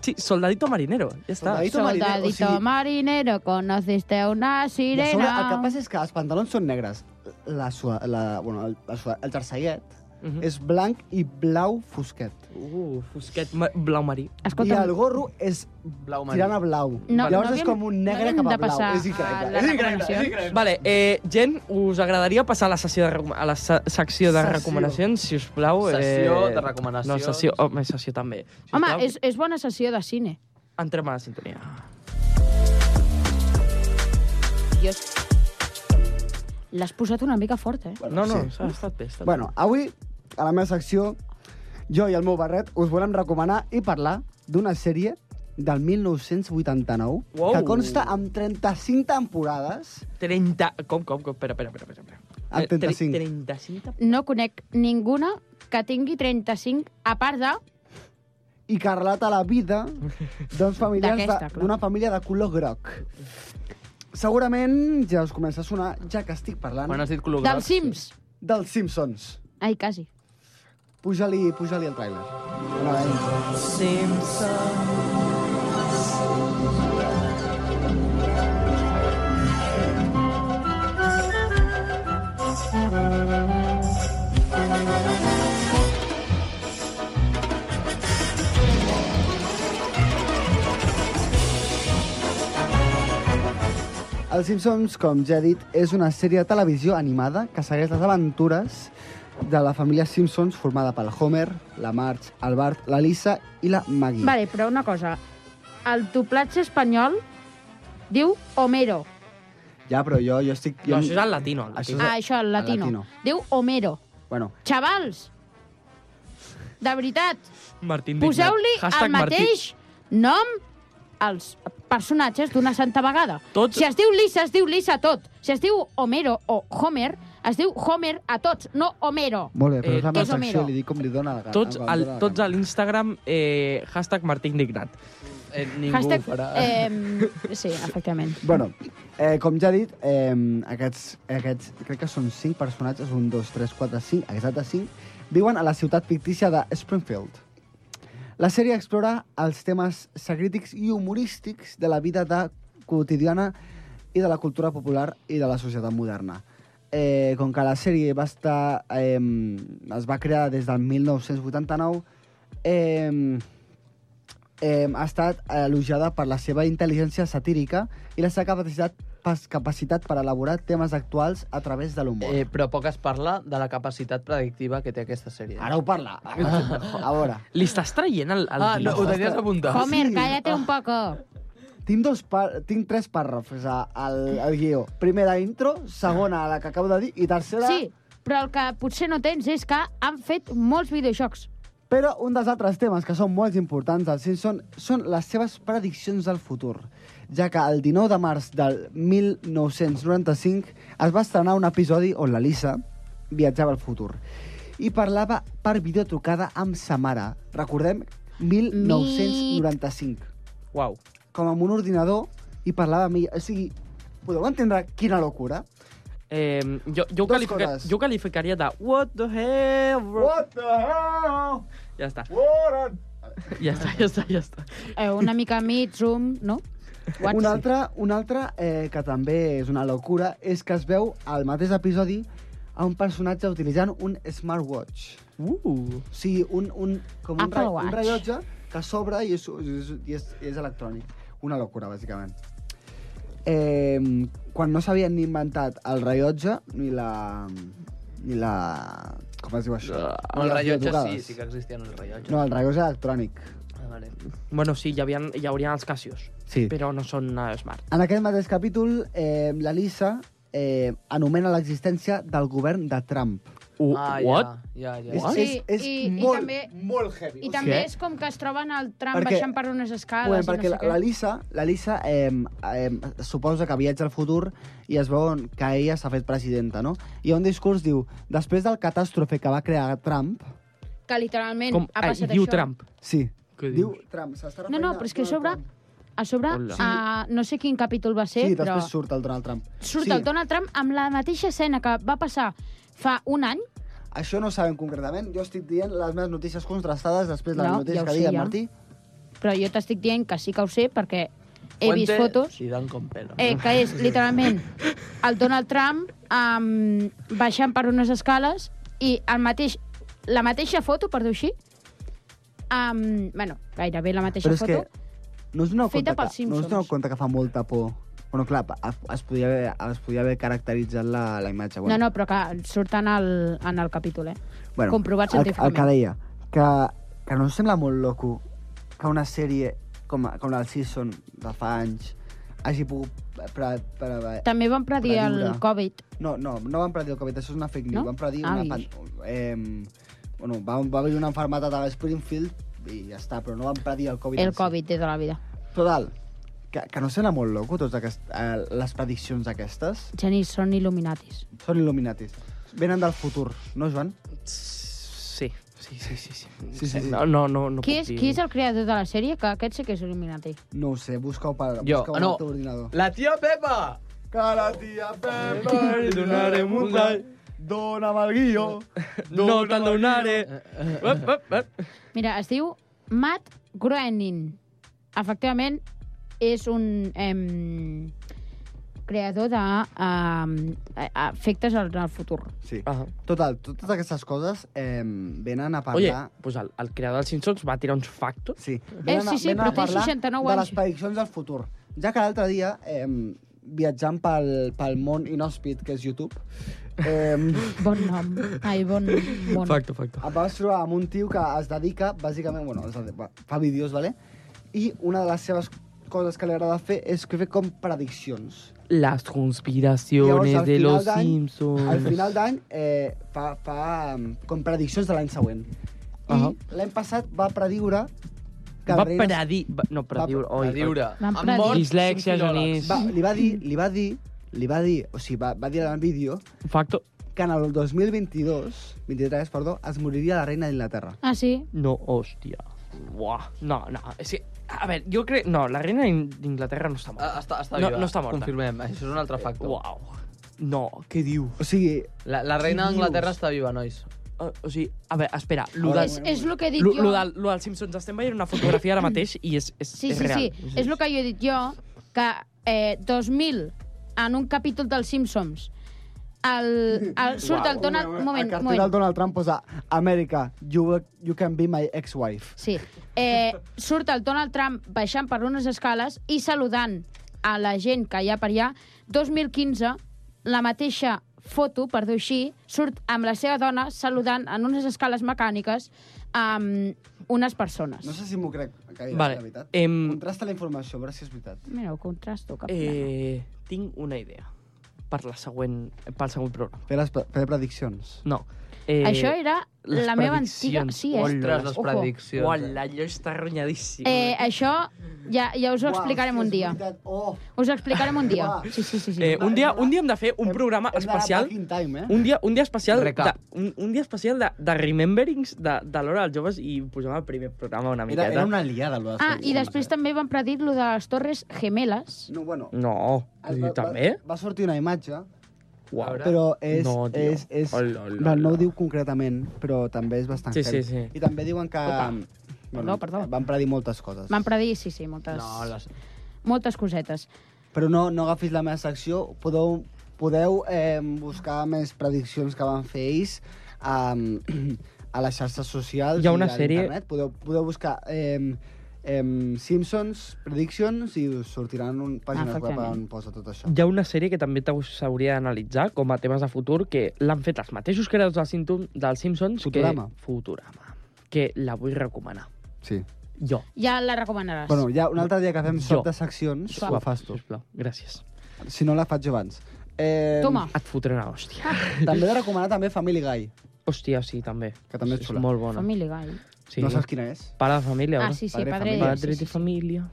Speaker 7: Sí, soldadito marinero, ja està.
Speaker 6: Soldadito.
Speaker 5: Soldadito
Speaker 6: marinero, o sigui-
Speaker 5: marinero, conociste a una
Speaker 6: I a sobre,
Speaker 5: sirena.
Speaker 6: el que passa és que els pantalons són negres. La, sua, la, bueno, el, el, sua, el jerseiet
Speaker 7: Mhm.
Speaker 6: és blanc i blau fosquet.
Speaker 7: Uh, fosquet ma- blau marí.
Speaker 6: I
Speaker 5: Escolta'm,
Speaker 6: el gorro és
Speaker 8: Blau marí.
Speaker 6: tirant a blau.
Speaker 5: No, no
Speaker 6: Llavors
Speaker 5: havíem-
Speaker 6: és com un negre
Speaker 5: no
Speaker 6: cap a
Speaker 5: havíem de
Speaker 6: blau.
Speaker 5: passar
Speaker 6: És
Speaker 5: a les
Speaker 6: increïble. És increïble, és
Speaker 5: recomanacions.
Speaker 6: increïble.
Speaker 7: Vale, eh, gent, us agradaria passar a la sessió de, recom- a la se- secció de
Speaker 6: Sessió.
Speaker 7: recomanacions, si us plau.
Speaker 8: Sessió
Speaker 7: eh,
Speaker 8: de recomanacions.
Speaker 7: No, sessió, home, sessió també. Si us
Speaker 5: home,
Speaker 7: plau,
Speaker 5: és, és bona sessió de cine.
Speaker 7: Entrem a la sintonia.
Speaker 5: Dios. L'has posat una mica fort, eh?
Speaker 7: No, no,
Speaker 6: sí.
Speaker 7: s'ha estat bé. s'ha estat
Speaker 6: Bueno, avui, a la meva secció, jo i el meu barret us volem recomanar i parlar d'una sèrie del 1989
Speaker 7: Wow.
Speaker 6: que consta amb 35 temporades.
Speaker 7: 30... Com, com, com? Espera, espera, espera. espera.
Speaker 6: Ah,
Speaker 7: Eh, tre-
Speaker 6: 35.
Speaker 7: 35.
Speaker 5: No conec ninguna que tingui 35, a part de...
Speaker 6: i que relata la vida d'uns familiars
Speaker 5: D'aquesta,
Speaker 6: de-
Speaker 5: clar.
Speaker 6: d'una família de color groc. Segurament ja us comença a sonar, ja que estic parlant
Speaker 8: Quan has dit color
Speaker 5: Dels Sims.
Speaker 6: dels Simpsons.
Speaker 5: Ai, quasi.
Speaker 6: Puja-li puja el tràiler. No, eh? Els Simpsons, com ja he dit, és una sèrie de televisió animada que segueix les aventures de la família Simpsons formada pel Homer, la Marge, el Bart, la Lisa i la Maggie.
Speaker 5: Vale, però una cosa. El doblatge espanyol diu Homero.
Speaker 6: Ja, però jo, jo estic...
Speaker 7: No,
Speaker 6: jo...
Speaker 7: això és el latino. El latino.
Speaker 6: Això és-
Speaker 5: Ah, això, el
Speaker 6: el
Speaker 5: latino.
Speaker 6: latino.
Speaker 5: Diu Homero.
Speaker 6: Bueno,
Speaker 5: Xavals, de veritat,
Speaker 7: Martín
Speaker 5: poseu-li
Speaker 7: Dignat. Hashtag
Speaker 5: el mateix nom als personatges d'una santa vegada.
Speaker 7: Tot-
Speaker 5: Si es diu Lisa, es diu Lisa a tot. Si es diu Homero o Homer, es diu Homer a tots, no Homero.
Speaker 6: molt bé, però
Speaker 7: Eh,
Speaker 6: eh, és la
Speaker 5: què
Speaker 6: meva
Speaker 5: és Homero?
Speaker 6: secció, li dic com li dóna la gana.
Speaker 7: Tots,
Speaker 6: em
Speaker 7: al,
Speaker 6: dóna la
Speaker 7: tots a
Speaker 6: gana.
Speaker 7: l'Instagram, eh, hashtag Martín Dignat.
Speaker 8: Eh, ningú Hashtag... farà.
Speaker 5: eh, sí, efectivament.
Speaker 6: Bueno, eh, com ja he dit, eh, aquests, aquests, crec que són 5 personatges, 1, 2, 3, 4, 5, exacte 5, viuen a la ciutat fictícia de Springfield. La sèrie explora els temes sacrítics i humorístics de la vida de quotidiana i de la cultura popular i de la societat moderna. Eh, com que la sèrie va estar, eh, es va crear des del 1989, eh, eh, ha estat elogiada per la seva intel·ligència satírica i la seva capacitat, pas, capacitat per elaborar temes actuals a través de l'humor.
Speaker 8: Eh, però poc es parla de la capacitat predictiva que té aquesta sèrie.
Speaker 6: Ara ho parla. A veure,
Speaker 7: Li estàs traient el... el
Speaker 8: Ah, no, ho tenies apuntat.
Speaker 5: Homer, cállate un poco.
Speaker 6: tinc, dos par tinc tres pàrrafs a- al, al guió. Primera intro, segona la que acabo de dir i tercera...
Speaker 5: Sí, però el que potser no tens és que han fet molts videojocs.
Speaker 6: Però un dels altres temes que són molt importants del Simpson són les seves prediccions del futur, ja que el 19 de març del 1995 es va estrenar un episodi on la Lisa viatjava al futur i parlava per videotrucada amb sa mare. Recordem, 1995.
Speaker 7: Uau.
Speaker 6: Com amb un ordinador i parlava amb ella. O sigui, podeu entendre quina locura?
Speaker 7: Eh, jo, jo, ho
Speaker 6: Dos
Speaker 7: qualifica,
Speaker 6: coses.
Speaker 7: jo ho qualificaria de what the hell, bro.
Speaker 6: the hell?
Speaker 7: Ja està.
Speaker 6: What a...
Speaker 7: Ja està, ja està, ja està.
Speaker 5: Eh, una mica mid, zoom, no? What's-
Speaker 6: Un altre, un altre eh, que també és una locura és que es veu al mateix episodi a un personatge utilitzant un smartwatch.
Speaker 7: Uh,
Speaker 6: O sigui, un, un, com un,
Speaker 5: Apple
Speaker 6: re, un
Speaker 5: Watch.
Speaker 6: rellotge que s'obre i, és, és, i és, i és electrònic. Una locura, bàsicament. Eh, quan no s'havien ni inventat el rellotge ni la... ni la... com es diu això?
Speaker 8: No, Ah, el
Speaker 6: les
Speaker 8: rellotge sí,
Speaker 6: videotrucades.
Speaker 8: sí que existien els rellotges.
Speaker 6: No, el rellotge electrònic.
Speaker 8: Ah, vale.
Speaker 7: bueno, sí, hi, havia, hi haurien els Casios,
Speaker 6: Sí.
Speaker 7: però no són uh, smart.
Speaker 6: En aquest mateix capítol, eh, la Lisa eh, anomena l'existència del govern de Trump.
Speaker 7: Uh,
Speaker 8: Ah,
Speaker 7: what?
Speaker 8: Ja, ja,
Speaker 6: És,
Speaker 8: ja.
Speaker 6: és, és
Speaker 5: Sí, i- i
Speaker 6: molt,
Speaker 5: també-
Speaker 6: molt heavy.
Speaker 5: I
Speaker 6: O
Speaker 5: també
Speaker 7: Què?
Speaker 5: és com que es troben al tram
Speaker 6: Perquè-
Speaker 5: baixant per unes escales
Speaker 6: Bueno,
Speaker 5: i Ah,
Speaker 6: perquè
Speaker 5: no
Speaker 6: la,
Speaker 5: sé
Speaker 6: la
Speaker 5: què.
Speaker 6: Lisa, la Lisa eh, eh, suposa que viatja al futur i es veu que ella s'ha fet presidenta, no? I un discurs diu, després del catàstrofe que va crear Trump...
Speaker 5: Que literalment
Speaker 7: Com,
Speaker 5: ha
Speaker 7: ah,
Speaker 5: passat
Speaker 7: diu
Speaker 5: això.
Speaker 7: Trump.
Speaker 6: Sí,
Speaker 7: Què
Speaker 6: diu Trump, s'està
Speaker 5: No, no, però és que a sobre,
Speaker 6: Trump.
Speaker 5: a sobre
Speaker 7: Hola.
Speaker 5: a, no sé quin capítol va ser,
Speaker 6: Sí,
Speaker 5: però
Speaker 6: després surt el Donald Trump.
Speaker 5: surt
Speaker 6: sí.
Speaker 5: el Donald Trump amb la mateixa escena que va passar fa un any.
Speaker 6: Això no ho sabem concretament, jo estic dient les meves notícies contrastades després de les
Speaker 5: No, ja
Speaker 6: notícies
Speaker 5: ho
Speaker 6: que
Speaker 5: sé,
Speaker 6: deia en
Speaker 5: ja.
Speaker 6: Martí.
Speaker 5: Però jo t'estic dient que sí que ho sé perquè he vist fotos
Speaker 8: I dan con pelo.
Speaker 5: eh, que és literalment el Donald Trump um, baixant per unes escales i el mateix, la mateixa foto, per dir així, um, bueno, gairebé la mateixa
Speaker 6: Però és
Speaker 5: foto,
Speaker 6: que no us doneu
Speaker 5: feta pels
Speaker 6: compte, que, no us
Speaker 5: Simpsons.
Speaker 6: doneu compte que fa molta por? Bueno, clar, es, es, podia haver, es podia haver caracteritzat la, la imatge. Bueno,
Speaker 5: No, no, però que surt en el, en el capítol, eh?
Speaker 6: bueno,
Speaker 5: comprovat
Speaker 6: el, el
Speaker 5: científicament.
Speaker 6: que deia, que, que no us sembla molt loco que una sèrie com, com la del Season de fa anys hagi pogut... Pre, pre, pre,
Speaker 5: També van predir el
Speaker 6: Prediure.
Speaker 5: Covid.
Speaker 6: no, no, no van predir el Covid, això és una fake news.
Speaker 5: No?
Speaker 6: Van predir
Speaker 5: Ah,
Speaker 6: una...
Speaker 5: i-
Speaker 6: Pan, eh, bueno, va, va haver una enfermetat a Springfield i ja està, però no van predir el Covid. en
Speaker 5: El
Speaker 6: si.
Speaker 5: Covid de tota la vida.
Speaker 6: Total, que, que no sembla molt loco tots aquest, eh, les prediccions aquestes?
Speaker 5: Genís, són il·luminatis.
Speaker 6: Són il·luminatis. Venen del futur, no, Joan?
Speaker 7: Sí, sí, sí, sí. sí.
Speaker 6: Sí, sí, sí.
Speaker 7: No, no, no, no
Speaker 5: Qui
Speaker 7: puc
Speaker 5: és,
Speaker 7: dir.
Speaker 5: qui és el creador de la sèrie? Que aquest sí que és il·luminati.
Speaker 6: No ho sé, busca-ho per,
Speaker 8: Jo,
Speaker 6: busca-ho
Speaker 8: ah,
Speaker 6: al
Speaker 8: no.
Speaker 6: teu ordinador.
Speaker 8: La tia Pepa!
Speaker 6: Que la tia Pepa li donarem un ball, dona'm el guió.
Speaker 7: No Eh, te'l donaré. Up, up, up.
Speaker 5: Mira, es diu Matt Groening. Efectivament, és un em, creador de em, eh, efectes al, al futur.
Speaker 6: Sí.
Speaker 7: Ah.
Speaker 6: Total, totes aquestes coses eh, venen a
Speaker 7: Oye,
Speaker 6: parlar...
Speaker 7: pues el, el creador dels Simpsons va tirar uns factos.
Speaker 6: Sí,
Speaker 5: Eh,
Speaker 6: venen, a-
Speaker 5: sí, sí,
Speaker 6: venen
Speaker 5: però
Speaker 6: a
Speaker 5: té
Speaker 6: parlar
Speaker 5: 69
Speaker 6: de
Speaker 5: anys.
Speaker 6: les prediccions del futur. Ja que l'altre dia, eh, viatjant pel, pel món inhòspit, que és YouTube, eh,
Speaker 5: Bon nom. Ai, bon món.
Speaker 7: facto.
Speaker 6: em vaig trobar amb un tio que es dedica, bàsicament, bueno, es dedica, fa vídeos, vale? i una de les seves coses que li agrada fer és que fer com prediccions.
Speaker 7: Las
Speaker 6: Llavors,
Speaker 7: conspiraciones
Speaker 6: al
Speaker 7: de
Speaker 6: final
Speaker 7: los
Speaker 6: d'any-
Speaker 7: Simpsons.
Speaker 6: Al final d'any eh, fa, fa um, com prediccions de l'any següent. I
Speaker 7: Ahà.
Speaker 6: l'any passat va prediure que el
Speaker 7: Va
Speaker 6: rei... de-
Speaker 7: predir... Va, no, prediure. Oi,
Speaker 8: Oi, a
Speaker 7: oi.
Speaker 8: diure.
Speaker 5: Van
Speaker 8: Amb
Speaker 5: predir.
Speaker 8: morts,
Speaker 7: Dislèxia,
Speaker 8: són
Speaker 7: Genís.
Speaker 8: filòlegs.
Speaker 6: Va, li va dir, li va dir, li va dir, o sigui, va, va dir en el vídeo
Speaker 7: Facto.
Speaker 6: que en el 2022, 23, perdó, es moriria la reina d'Inglaterra.
Speaker 5: Ah, sí?
Speaker 7: No, hòstia. Buah. No, no. És que, a veure, jo crec... No, la reina d'In- d'Inglaterra no està
Speaker 8: Ah,
Speaker 7: morta.
Speaker 8: està, està
Speaker 7: No,
Speaker 8: viva.
Speaker 7: no està morta.
Speaker 8: Confirmem, això és un
Speaker 6: ah,
Speaker 8: altre factor.
Speaker 7: Uau. No, què diu?
Speaker 6: O sigui,
Speaker 8: La, la reina
Speaker 6: Qui dius?
Speaker 8: d'Anglaterra està viva, nois.
Speaker 7: O, Ah, o sigui, a veure, espera. Lo
Speaker 6: Hola,
Speaker 7: del,
Speaker 5: És, és el que he dit
Speaker 7: lo,
Speaker 5: jo.
Speaker 7: lo, del, lo dels Simpsons estem veient una fotografia ara mateix i és, és,
Speaker 5: Sí,
Speaker 7: és
Speaker 5: sí,
Speaker 7: real.
Speaker 5: sí. És el que jo he dit jo, que eh, 2000, en un capítol dels Simpsons, el, el surt el Donald... Un moment,
Speaker 6: el
Speaker 5: un
Speaker 6: cartell del
Speaker 5: moment.
Speaker 6: Donald Trump posa America, you, will- you can be my ex-wife.
Speaker 5: Sí. Eh, surt el Donald Trump baixant per unes escales i saludant a la gent que hi ha per allà. 2015, la mateixa foto, per dir així, surt amb la seva dona saludant en unes escales mecàniques amb unes persones.
Speaker 6: No sé si m'ho crec, gaire,
Speaker 7: Vale,
Speaker 6: la veritat.
Speaker 7: em-
Speaker 6: Contrasta la informació, a veure si és veritat.
Speaker 5: Mira, ho contrasto. Cap eh...
Speaker 7: Eh, tinc una idea per la següent, pel següent programa.
Speaker 6: Fer, les, pre- fer prediccions.
Speaker 7: No. Eh,
Speaker 5: Això era
Speaker 7: les
Speaker 5: la meva antiga...
Speaker 7: prediccions.
Speaker 5: Sí, és.
Speaker 7: Ostres,
Speaker 8: les
Speaker 5: Ojo.
Speaker 8: prediccions. eh.
Speaker 7: Uala, allò està ronyadíssim.
Speaker 5: Eh, això ja, ja us ho
Speaker 6: Uau,
Speaker 5: explicarem
Speaker 6: hòstia,
Speaker 5: un
Speaker 6: és
Speaker 5: dia.
Speaker 6: veritat. Oh,
Speaker 5: Us ho explicarem un dia.
Speaker 6: Uau.
Speaker 5: Sí, sí, sí. sí.
Speaker 7: Eh, un, dia, un dia hem de fer un
Speaker 6: Hem-
Speaker 7: programa
Speaker 6: hem d'anar
Speaker 7: especial...
Speaker 6: back in Time, eh?
Speaker 7: Un dia, un dia especial, de,
Speaker 8: Recap.
Speaker 7: un, un dia especial de, de rememberings de, de l'hora dels joves i posem el primer programa una
Speaker 6: Era,
Speaker 7: miqueta.
Speaker 6: era una liada, allò de
Speaker 5: ah,
Speaker 6: fer-ho.
Speaker 5: i després també van predir lo de les torres gemeles.
Speaker 6: No, bueno,
Speaker 7: No,
Speaker 6: es
Speaker 7: i
Speaker 6: Ah, va,
Speaker 7: Mm. també?
Speaker 6: Va, va sortir una imatge,
Speaker 7: Uau.
Speaker 8: Ara-
Speaker 6: però és...
Speaker 7: No, tio.
Speaker 6: és, és
Speaker 7: Hola, hola,
Speaker 6: no, no ho
Speaker 7: hola.
Speaker 6: diu concretament, però també és bastant
Speaker 7: Sí,
Speaker 6: heavy.
Speaker 7: sí, sí.
Speaker 6: I també diuen que... mm,
Speaker 7: Opa.
Speaker 5: Perdó, perdó.
Speaker 6: Van predir moltes coses.
Speaker 5: Van predir, sí, sí, moltes,
Speaker 8: No, les...
Speaker 5: moltes cosetes.
Speaker 6: Però no, no agafis la meva secció. Podeu, podeu eh, buscar més prediccions que van fer ells um, a les xarxes socials
Speaker 7: Hi ha una
Speaker 6: i a
Speaker 7: sèrie-
Speaker 6: internet. Podeu, podeu buscar eh, eh, Simpsons Predictions i us sortiran un pàgines
Speaker 5: Ah,
Speaker 6: web
Speaker 5: Efectivament.
Speaker 6: on posa tot això.
Speaker 7: Hi ha una sèrie que també t'hau- s'hauria d'analitzar com a temes de futur, que l'han fet els mateixos creadors dels, Simpsons, dels Simpsons
Speaker 6: Futurama.
Speaker 7: que... Futurama. Que la vull recomanar.
Speaker 6: Sí.
Speaker 7: Jo.
Speaker 5: Ja la recomanaràs.
Speaker 6: Bueno, ja un altre dia que fem
Speaker 7: Jo.
Speaker 6: sort de seccions, ho fas tu.
Speaker 7: Sisplau, gràcies.
Speaker 6: Si no, la faig jo abans. Eh,
Speaker 5: Toma.
Speaker 7: Et fotré una hòstia.
Speaker 6: També he de recomanar també Family Guy,
Speaker 7: Hòstia, sí, també.
Speaker 6: que també és xula.
Speaker 7: molt bona.
Speaker 5: Family Guy.
Speaker 7: Sí.
Speaker 6: No saps quina és?
Speaker 7: Pare de família,
Speaker 5: Ah,
Speaker 7: oi?
Speaker 5: sí, sí,
Speaker 6: Padre i
Speaker 5: Padre,
Speaker 6: Família.
Speaker 7: Padre
Speaker 5: sí, sí,
Speaker 7: de
Speaker 5: sí.
Speaker 7: família.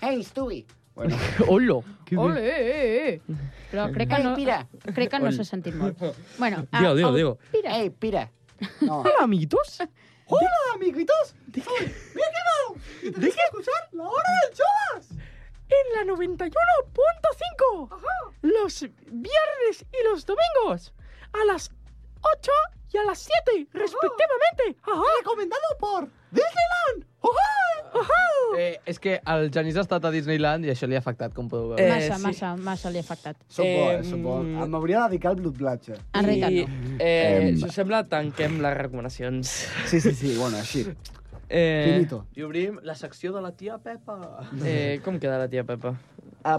Speaker 4: Ei, Stewie!
Speaker 6: Bueno,
Speaker 7: Olo!
Speaker 5: Ole, eh, eh. Però crec que no, crec que no s'ha sentit molt. Bueno, ah,
Speaker 7: Digo, digo,
Speaker 5: el-
Speaker 7: digo.
Speaker 5: Pira.
Speaker 4: pira!
Speaker 6: no.
Speaker 7: Hola, amiguitos.
Speaker 6: Hola, amiguitos! Mira què tal! I tenéis que escuchar la hora del joves!
Speaker 7: En la 91.5. Los viernes y los domingos. A las 8 y a las 7, respectivamente. Ajá.
Speaker 6: Recomendado por Disneyland!
Speaker 8: eh, és que el Genís ha estat a Disneyland i això li ha afectat, com podeu veure.
Speaker 7: Eh,
Speaker 5: Massa,
Speaker 7: sí.
Speaker 5: massa, massa li ha afectat.
Speaker 6: Soc bo, eh?
Speaker 7: Em-
Speaker 6: Soc bo. Em M'hauria de dedicar al doblatge.
Speaker 5: En realitat
Speaker 7: I,
Speaker 5: no.
Speaker 7: eh, si us sembla, tanquem les recomanacions.
Speaker 6: Sí, sí, sí, bueno, així.
Speaker 7: Eh,
Speaker 6: Finito.
Speaker 8: I obrim la secció de la tia Pepa.
Speaker 7: Eh, com queda la tia Pepa?
Speaker 6: A,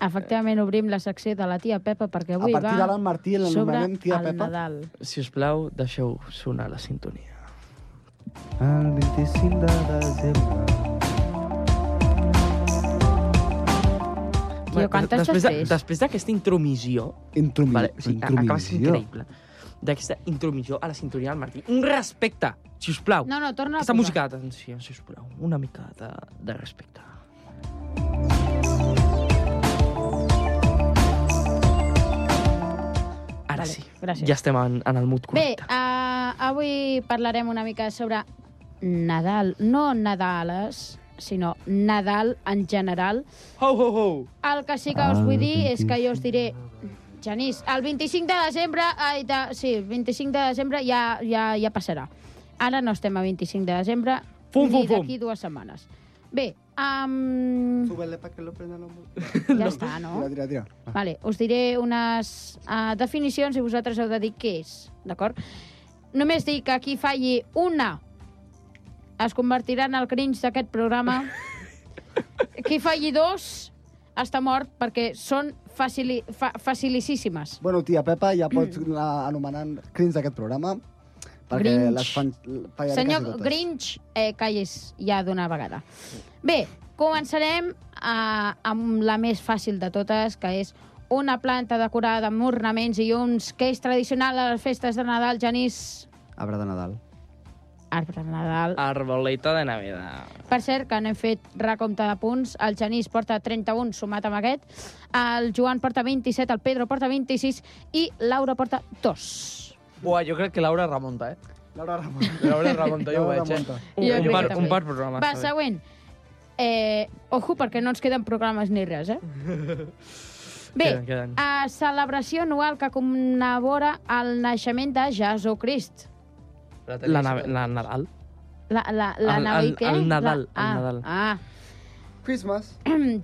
Speaker 5: Efectivament, obrim la secció de la tia Pepa perquè
Speaker 6: a
Speaker 5: avui
Speaker 6: partir d'ara
Speaker 5: va
Speaker 6: en Martí
Speaker 5: sobre
Speaker 6: l'anomenem tia
Speaker 5: el
Speaker 6: Pepa.
Speaker 5: Nadal.
Speaker 7: Si us plau, deixeu sonar la sintonia.
Speaker 9: El 25 de desembre.
Speaker 5: Tio, quantes
Speaker 7: després de-
Speaker 5: després?
Speaker 7: després d'aquesta intromissió,
Speaker 6: Intrumi,
Speaker 7: Vale, sí,
Speaker 6: intromissió.
Speaker 7: acaba sent increïble. D'aquesta intromissió a la sintonia del Martí. Un respecte, si us plau.
Speaker 5: No, no, torna a
Speaker 7: Oh. Aquesta
Speaker 5: posar.
Speaker 7: música d'atenció, si us plau. Una mica de, de respecte. Ara sí.
Speaker 5: gràcies.
Speaker 7: Ja estem en, en el mood
Speaker 5: Bé,
Speaker 7: correcte.
Speaker 5: uh, avui parlarem una mica sobre Nadal. No Nadales, sinó Nadal en general.
Speaker 7: Ho, ho, ho!
Speaker 5: El que sí que
Speaker 7: Ah,
Speaker 5: us vull dir és que jo us diré... Genís, el 25 de desembre... Ai, de, sí, el 25 de desembre ja, ja, ja passarà. Ara no estem a 25 de desembre,
Speaker 7: Fum,
Speaker 5: ni
Speaker 7: fum, fum.
Speaker 5: d'aquí dues setmanes. Bé, um,
Speaker 6: Súbele pa que lo prenda la música.
Speaker 5: ja està, no?
Speaker 6: Tira, tira, tira.
Speaker 5: Vale, us diré unes uh, definicions i vosaltres heu de dir què és, d'acord? Només dic que qui falli una es convertirà en el cringe d'aquest programa. qui falli dos està mort perquè són facili fa facilicíssimes.
Speaker 6: Bueno, tia Pepa, ja pots
Speaker 5: Mm.
Speaker 6: anar anomenant crins d'aquest programa. Perquè
Speaker 5: Grinch.
Speaker 6: les fan... fallaré
Speaker 5: Senyor
Speaker 6: quasi totes.
Speaker 5: Grinch, eh, callis ja d'una vegada. Bé, començarem eh, amb la més fàcil de totes, que és una planta decorada amb ornaments i llums que és tradicional a les festes de Nadal, Genís,
Speaker 6: Arbre de Nadal.
Speaker 5: arbre de Nadal.
Speaker 7: Ah. Arboleta de Navidad.
Speaker 5: Per cert, que no hem fet recompte de punts. El Genís porta 31 sumat amb aquest, el Joan porta 27, el Pedro porta 26 i Laura porta 2.
Speaker 8: Buah, jo crec que Laura remunta, eh?
Speaker 6: Laura Ramon.
Speaker 8: Laura remunta, jo ho
Speaker 6: Laura
Speaker 8: veig, eh?
Speaker 6: Monta.
Speaker 7: Un,
Speaker 5: Jo
Speaker 7: un,
Speaker 5: crec
Speaker 7: par,
Speaker 5: que
Speaker 7: un
Speaker 5: també.
Speaker 7: par programa.
Speaker 5: Va, següent. Eh, ojo, perquè no ens queden programes ni res, eh? Bé,
Speaker 7: Queden, queden.
Speaker 5: a celebració anual que commemora el naixement de Jesucrist.
Speaker 7: La, nave- la Nadal.
Speaker 5: La, la, la
Speaker 7: El-
Speaker 5: Navi-
Speaker 7: el-
Speaker 5: què?
Speaker 7: el Nadal,
Speaker 5: La, ah,
Speaker 7: el Nadal.
Speaker 5: Ah,
Speaker 6: Christmas.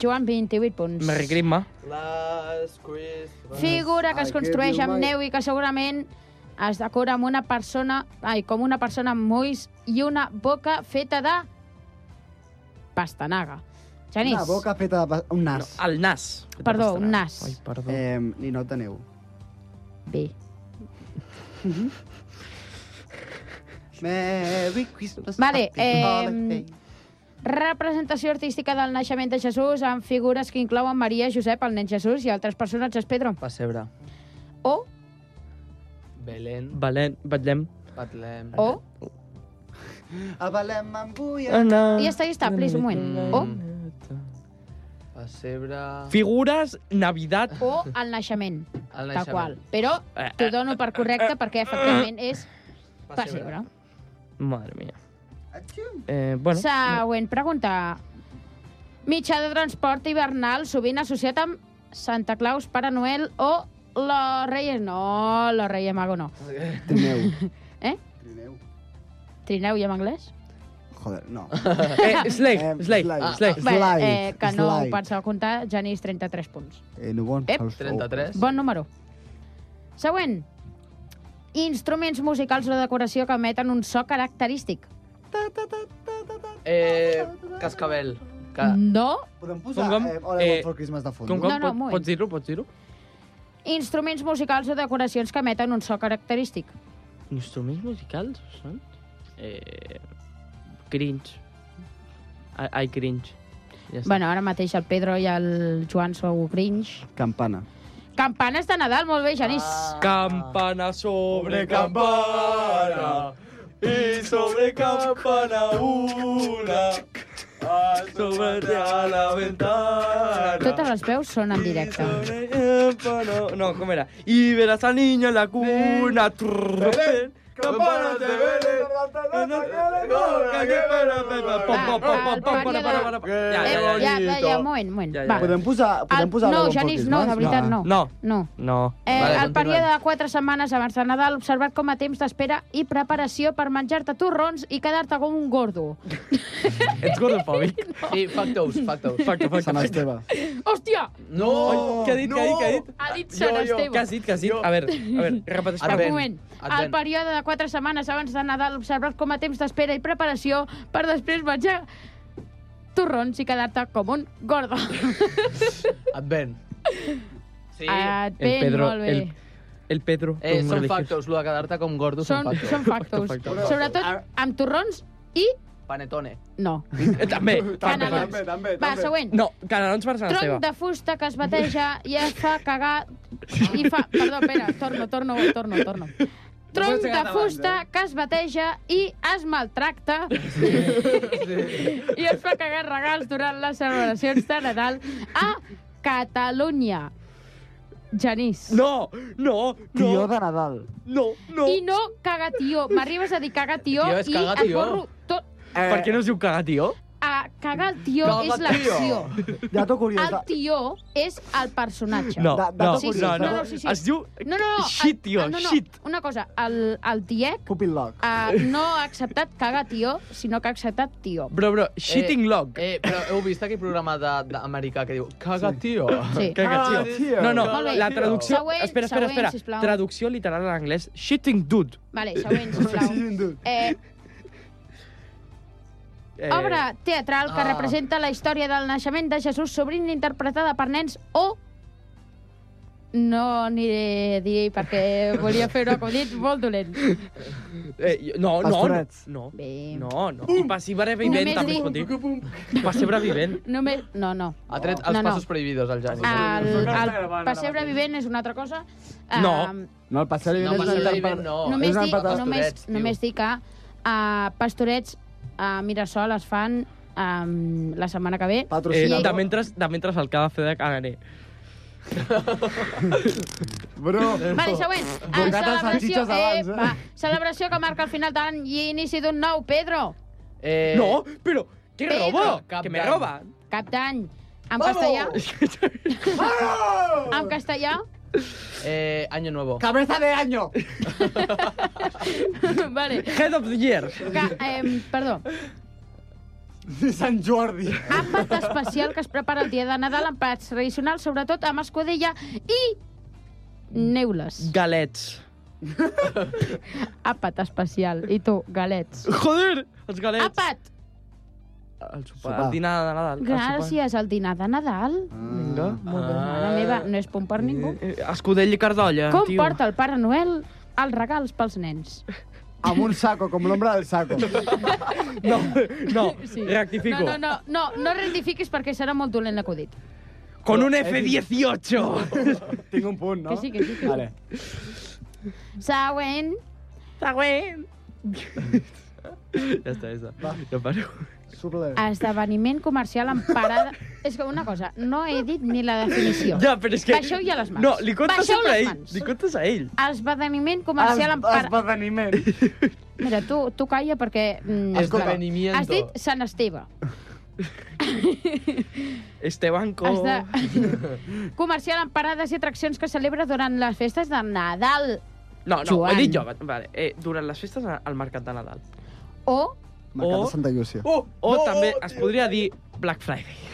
Speaker 5: Joan, 28 punts.
Speaker 7: Merry Christmas.
Speaker 8: Last Christmas.
Speaker 5: Figura que
Speaker 6: Ai,
Speaker 5: es
Speaker 6: què
Speaker 5: construeix
Speaker 6: diu,
Speaker 5: amb
Speaker 6: mai?
Speaker 5: neu i que segurament es decora amb una persona, ai, com una persona amb ulls i una boca feta de pastanaga. Genís.
Speaker 6: Una boca feta de... pa- Un
Speaker 7: No, ah.
Speaker 6: nas.
Speaker 7: el nas.
Speaker 5: Perdó, un nas.
Speaker 7: Ai, perdó. Eh.
Speaker 6: Eh, ninot de neu.
Speaker 5: Bé.
Speaker 6: Merry Christmas.
Speaker 5: Vale,
Speaker 6: happy
Speaker 5: eh,
Speaker 6: holiday.
Speaker 5: Representació artística del naixement de Jesús amb figures que inclouen Maria, Josep, el nen Jesús i altres personatges, Pedro.
Speaker 8: Pessebre.
Speaker 5: O,
Speaker 8: Belén.
Speaker 7: Valent, Batllem.
Speaker 8: Betlem.
Speaker 5: o,
Speaker 6: A Belém
Speaker 5: Eh,
Speaker 6: m'embuia.
Speaker 7: Anar...
Speaker 5: i està, i està, please, un
Speaker 8: Mm.
Speaker 5: moment. O,
Speaker 8: Pessebre...
Speaker 7: Figures, Navidad...
Speaker 5: o el naixement,
Speaker 8: El
Speaker 5: tal
Speaker 8: naixement. Eh,
Speaker 5: qual. Però t'ho dono per correcte perquè efectivament és pessebre.
Speaker 7: Madre mía. Eh, bueno,
Speaker 5: Següent pregunta. Mitjà de transport hivernal sovint associat amb Santa Claus, Pare Noel o los Reyes... No, los Reyes Mago no.
Speaker 6: Trineu.
Speaker 5: Eh?
Speaker 6: Trineu.
Speaker 5: Trineu i en anglès?
Speaker 6: joder, no.
Speaker 7: Eh, Slade,
Speaker 6: Em,
Speaker 7: Slade,
Speaker 6: Slade.
Speaker 7: Slade.
Speaker 5: Bé,
Speaker 6: Slide,
Speaker 5: eh, que no
Speaker 6: slide.
Speaker 5: ho pensava comptar, Genís, 33 punts.
Speaker 6: Eh, no bon,
Speaker 5: Ep,
Speaker 8: 33.
Speaker 5: Bon número. Següent. Instruments musicals o decoració que emeten un so característic.
Speaker 8: Eh, cascabel.
Speaker 5: Ah.
Speaker 8: Ca...
Speaker 5: No.
Speaker 6: Podem posar
Speaker 7: Com, com?
Speaker 6: eh, All I Want
Speaker 7: Eh,
Speaker 6: For Christmas de fons?
Speaker 7: Com, com,
Speaker 5: No, no,
Speaker 7: pot-
Speaker 5: un moment.
Speaker 7: pots dir-ho, pots dir-ho?
Speaker 5: Instruments musicals o decoracions que emeten un so característic.
Speaker 7: Instruments musicals són... Eh, cringe. Ai, ai, cringe. Ja està.
Speaker 5: Bueno, ara mateix el Pedro i el Joan sou cringe.
Speaker 6: Campana.
Speaker 5: Campanes de Nadal, molt bé, Genís. Ah.
Speaker 7: Campana sobre
Speaker 8: Ah.
Speaker 7: campana y sobre campana una sobre a la ventana.
Speaker 5: Totes les veus són en directe. Eh,
Speaker 7: Y sobre campana- No, ¿cómo era? Y verás al niño en la cuna. Trrr. Campana de Belén.
Speaker 5: Va, va,
Speaker 7: Ah,
Speaker 5: el pare de-
Speaker 7: Ya,
Speaker 5: Eh,
Speaker 7: ya, ya.
Speaker 5: ja, ja, ja, un moment, un moment.
Speaker 7: Ja, ja,
Speaker 5: Va.
Speaker 7: ja.
Speaker 6: Podem posar, podem
Speaker 5: El-
Speaker 6: posar All I
Speaker 5: no,
Speaker 6: Want For
Speaker 5: Genís, no,
Speaker 6: Christmas?
Speaker 5: de veritat, no.
Speaker 7: No,
Speaker 5: No.
Speaker 7: no.
Speaker 5: Eh,
Speaker 8: Vale,
Speaker 5: el
Speaker 8: continuem.
Speaker 5: període de 4 setmanes abans de Nadal observat com a temps d'espera i preparació per menjar-te torrons i quedar-te com un gordo.
Speaker 7: Ets gordofòbic.
Speaker 8: Sí, factos, factos.
Speaker 7: Facto, facto.
Speaker 6: Sant Esteve.
Speaker 5: Hòstia!
Speaker 8: No!
Speaker 7: Ai, què ha dit, què ha dit, què ha dit?
Speaker 5: Ha dit
Speaker 8: Jo,
Speaker 5: Sant
Speaker 8: jo,
Speaker 5: Esteve.
Speaker 7: Què has dit, què has dit? A veure, a veure, repeteix.
Speaker 5: Un
Speaker 8: Advent.
Speaker 5: moment. El
Speaker 8: Advent.
Speaker 5: període de 4 setmanes abans de Nadal observat com a temps d'espera i preparació per després menjar torrons i quedar-te com un gordo.
Speaker 8: Advent. Sí.
Speaker 5: Advent,
Speaker 7: Pedro,
Speaker 5: molt bé.
Speaker 7: el- El Pedro.
Speaker 8: Eh,
Speaker 7: com
Speaker 8: són
Speaker 7: religiós.
Speaker 8: factos, lo de quedar-te com gordo són,
Speaker 5: Són,
Speaker 8: factos.
Speaker 5: són factos.
Speaker 7: Facto,
Speaker 6: facto. Ara-
Speaker 5: Sobretot amb torrons i...
Speaker 8: Panetone.
Speaker 5: No.
Speaker 7: Eh, També,
Speaker 5: També,
Speaker 7: facto, facto.
Speaker 5: també, també. Va, següent.
Speaker 7: No, canelons per Sant Esteve.
Speaker 5: tronc de fusta que es bateja i es fa cagar... I fa... Perdó, espera, torno, torno, torno, torno. Tronc de fusta que es bateja i es maltracta i es fa cagar regals durant les celebracions de Nadal a Catalunya. Genís.
Speaker 7: No, no, no,
Speaker 6: Tió de Nadal.
Speaker 7: no, no.
Speaker 5: I no caga tió. M'arribes a dir caga tió,
Speaker 8: Tio, és
Speaker 5: i
Speaker 8: cagar
Speaker 5: et
Speaker 8: tió.
Speaker 5: borro tot.
Speaker 7: Eh, Per què no es diu cagar, tio?
Speaker 5: A cagar el tió
Speaker 8: Caga
Speaker 5: és l'acció.
Speaker 6: Eh, Dato
Speaker 5: El
Speaker 6: curioso.
Speaker 5: tió és el personatge.
Speaker 7: No,
Speaker 6: Da-
Speaker 7: no,
Speaker 6: dato
Speaker 5: Sí, sí,
Speaker 7: no,
Speaker 5: no,
Speaker 7: no.
Speaker 5: no, sí, sí.
Speaker 7: Es diu...
Speaker 5: No, no, no. el-
Speaker 7: Shit, tio,
Speaker 5: ah, no, no.
Speaker 7: shit.
Speaker 5: Una cosa, el, el Diec
Speaker 6: Cupid Lock.
Speaker 5: uh, no ha acceptat caga tió, sinó que ha acceptat tió.
Speaker 7: Bro, bro, shitting log.
Speaker 8: Eh, però heu vist aquell programa de- d'americà que diu Caga, tio.
Speaker 5: Sí.
Speaker 7: Caga,
Speaker 6: Ah,
Speaker 7: tio.
Speaker 6: tio.
Speaker 7: No, no,
Speaker 5: Molt bé.
Speaker 7: la traducció...
Speaker 5: Següent,
Speaker 7: Espera, espera,
Speaker 5: següent,
Speaker 7: espera.
Speaker 5: sisplau.
Speaker 7: Traducció literal en anglès. Shitting dude.
Speaker 5: Vale, següent, sisplau. Eh,
Speaker 7: Eh,
Speaker 5: obra teatral que
Speaker 8: Ah.
Speaker 5: representa la història del naixement de Jesús, sovint interpretada per nens o... No aniré a dir perquè volia fer un acudit molt dolent.
Speaker 7: eh, jo- no,
Speaker 6: Els
Speaker 7: no, no,
Speaker 6: forats.
Speaker 7: no.
Speaker 5: Bé.
Speaker 7: No, no. I passiva revivent,
Speaker 5: Només
Speaker 7: també es pot dir. Passiva revivent.
Speaker 5: Només... No, no.
Speaker 8: Ha tret els
Speaker 5: No, no.
Speaker 8: passos prohibidos, el Jani.
Speaker 5: El, el pessebre vivent és una altra cosa.
Speaker 7: No.
Speaker 5: Eh,
Speaker 6: No, el passeig
Speaker 8: No,
Speaker 6: no,
Speaker 8: passebre vivent no.
Speaker 5: només,
Speaker 6: és una
Speaker 5: dic,
Speaker 6: patata.
Speaker 5: només,
Speaker 8: Pastorets, tio.
Speaker 5: només dic que uh, pastorets a uh, Mirasol es fan um, la setmana que ve.
Speaker 7: Eh,
Speaker 6: Patrocinat.
Speaker 7: de, mentres, de mentres el cada de caganer.
Speaker 6: Bro.
Speaker 5: Vale, següent. Uh,
Speaker 6: Borrat els
Speaker 5: celebració,
Speaker 6: salsitxes abans, eh?
Speaker 5: va, celebració que marca el final de l'any i inici d'un nou, Pedro.
Speaker 8: Eh,
Speaker 7: No, però... Què
Speaker 5: Pedro,
Speaker 7: robo?
Speaker 8: cap
Speaker 7: Que me
Speaker 8: d'any.
Speaker 7: roba.
Speaker 5: Cap d'any. En castellà. en castellà.
Speaker 8: Eh, año nuevo.
Speaker 6: Cabeza de año.
Speaker 5: vale.
Speaker 7: Head of the year.
Speaker 5: Que, eh, perdó.
Speaker 6: Sant Jordi.
Speaker 5: Àpat especial que es prepara el dia de Nadal amb plats tradicionals, sobretot amb escudella i neules.
Speaker 7: Galets.
Speaker 5: Àpat especial. I tu, galets.
Speaker 7: Joder, els galets. Ah,
Speaker 5: Àpat!
Speaker 7: El sopar,
Speaker 6: Sopar.
Speaker 7: el dinar de Nadal. el sopar.
Speaker 5: Gràcies, al dinar de Nadal.
Speaker 7: Vinga, molt bé.
Speaker 5: Mare meva, no és punt per ningú.
Speaker 7: Eh, eh, Escudella i cardolla,
Speaker 5: Com
Speaker 7: Ah. tio.
Speaker 5: porta el Pare Noel els regals pels nens?
Speaker 6: Ah. Amb un saco, com l'ombra del saco.
Speaker 7: No, no, rectifico.
Speaker 5: No, no, no, no, no rectifiquis perquè serà molt dolent l'acudit.
Speaker 7: Con un F18.
Speaker 6: Tinc un punt, no?
Speaker 5: Que sí, que sí, que sí.
Speaker 6: Vale.
Speaker 5: Següent.
Speaker 7: Següent. ja està, ja està. Va. Ja paro.
Speaker 6: Suple.
Speaker 5: Ah. Esdeveniment comercial amb parada... És que una cosa, no he dit ni la definició.
Speaker 7: Ja, però és que...
Speaker 5: Baixeu ja les mans.
Speaker 7: No, li contes
Speaker 5: Baixeu
Speaker 7: sempre a
Speaker 5: les
Speaker 7: ell.
Speaker 5: mans.
Speaker 7: Li contes a ell.
Speaker 5: Esdeveniment comercial amb
Speaker 6: Es-
Speaker 5: parada...
Speaker 6: Esbadaniment.
Speaker 5: Mira, tu, tu calla perquè... Mm,
Speaker 8: Esdevenimiento.
Speaker 5: Has dit Sant Esteve.
Speaker 7: Estebanco.
Speaker 5: Has de... Comercial amb parades i atraccions que celebra durant les festes de Nadal
Speaker 7: No, no,
Speaker 5: Joan.
Speaker 7: ho he dit jo. Vale. Eh, durant les festes al mercat de Nadal.
Speaker 5: o
Speaker 6: Mercat
Speaker 7: O-
Speaker 6: de Santa Llúcia.
Speaker 8: Oh,
Speaker 7: O no, també es podria dir Black Friday.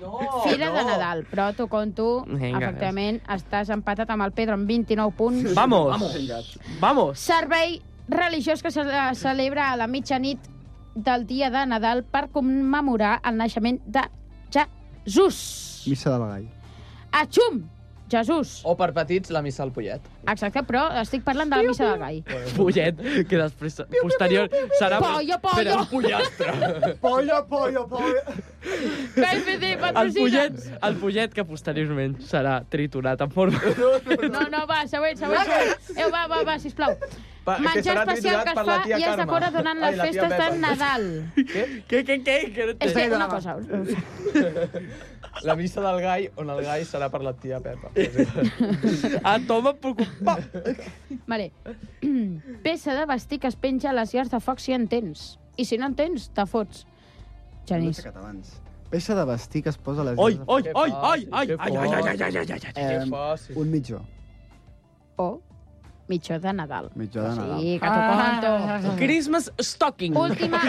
Speaker 8: No,
Speaker 5: Fira
Speaker 8: Oh, no.
Speaker 5: de Nadal, però t'ho conto,
Speaker 7: Vinga,
Speaker 5: efectivament, estàs empatat amb el Pedro amb 29 punts.
Speaker 7: Vamos. Vamos.
Speaker 5: Servei religiós que se eh, celebra a la mitjanit del dia de Nadal per commemorar el naixement de Jesús.
Speaker 6: Missa del Gall.
Speaker 5: Achum! Jesús.
Speaker 8: O per petits, la missa al Pollet.
Speaker 5: Exacte, però estic parlant de la missa del gai.
Speaker 7: Pollet, que després, posterior, serà...
Speaker 5: Pollo,
Speaker 7: Espera,
Speaker 5: pollo!
Speaker 7: un pollastre.
Speaker 6: Pollo, pollo, pollo.
Speaker 5: KFC,
Speaker 7: El
Speaker 5: patrocina!
Speaker 7: pollet, el pollet que posteriorment serà triturat en forma...
Speaker 5: No, no, va, següent, següent. següent. Eh, va, va, va, sisplau.
Speaker 8: Pa- Ah, que
Speaker 5: Menjar
Speaker 8: serà
Speaker 5: especial
Speaker 8: triturat
Speaker 5: que es
Speaker 8: per la
Speaker 5: fa
Speaker 8: tia
Speaker 5: i es
Speaker 8: Carme.
Speaker 5: decora donant
Speaker 8: Ai,
Speaker 5: les
Speaker 8: la tia
Speaker 5: festes de
Speaker 8: Pepa.
Speaker 5: Nadal.
Speaker 7: Què, què, què? Que no
Speaker 5: És
Speaker 7: entenc.
Speaker 5: que una cosa...
Speaker 8: La missa del Gai, on el Gai serà per la tia Pepa.
Speaker 7: Ah, toma, preocupa.
Speaker 5: Vale. Peça de vestir que es penja a les llars de foc si en tens. I si no en tens, te fots. Genís.
Speaker 6: Peça de vestir que es posa a les...
Speaker 7: Oi,
Speaker 6: llars de-
Speaker 7: oi,
Speaker 8: Que
Speaker 7: oi, oi,
Speaker 8: fàcil,
Speaker 7: oi,
Speaker 8: que
Speaker 7: ai, ai, ai, ai, ai, ai, ai, ai.
Speaker 8: Que
Speaker 6: Em,
Speaker 8: fàcil.
Speaker 6: un mitjó.
Speaker 5: O mitjó de Nadal.
Speaker 6: Mitjó de Nadal.
Speaker 5: Sí, que t'ho conto.
Speaker 7: Christmas stocking.
Speaker 5: Última,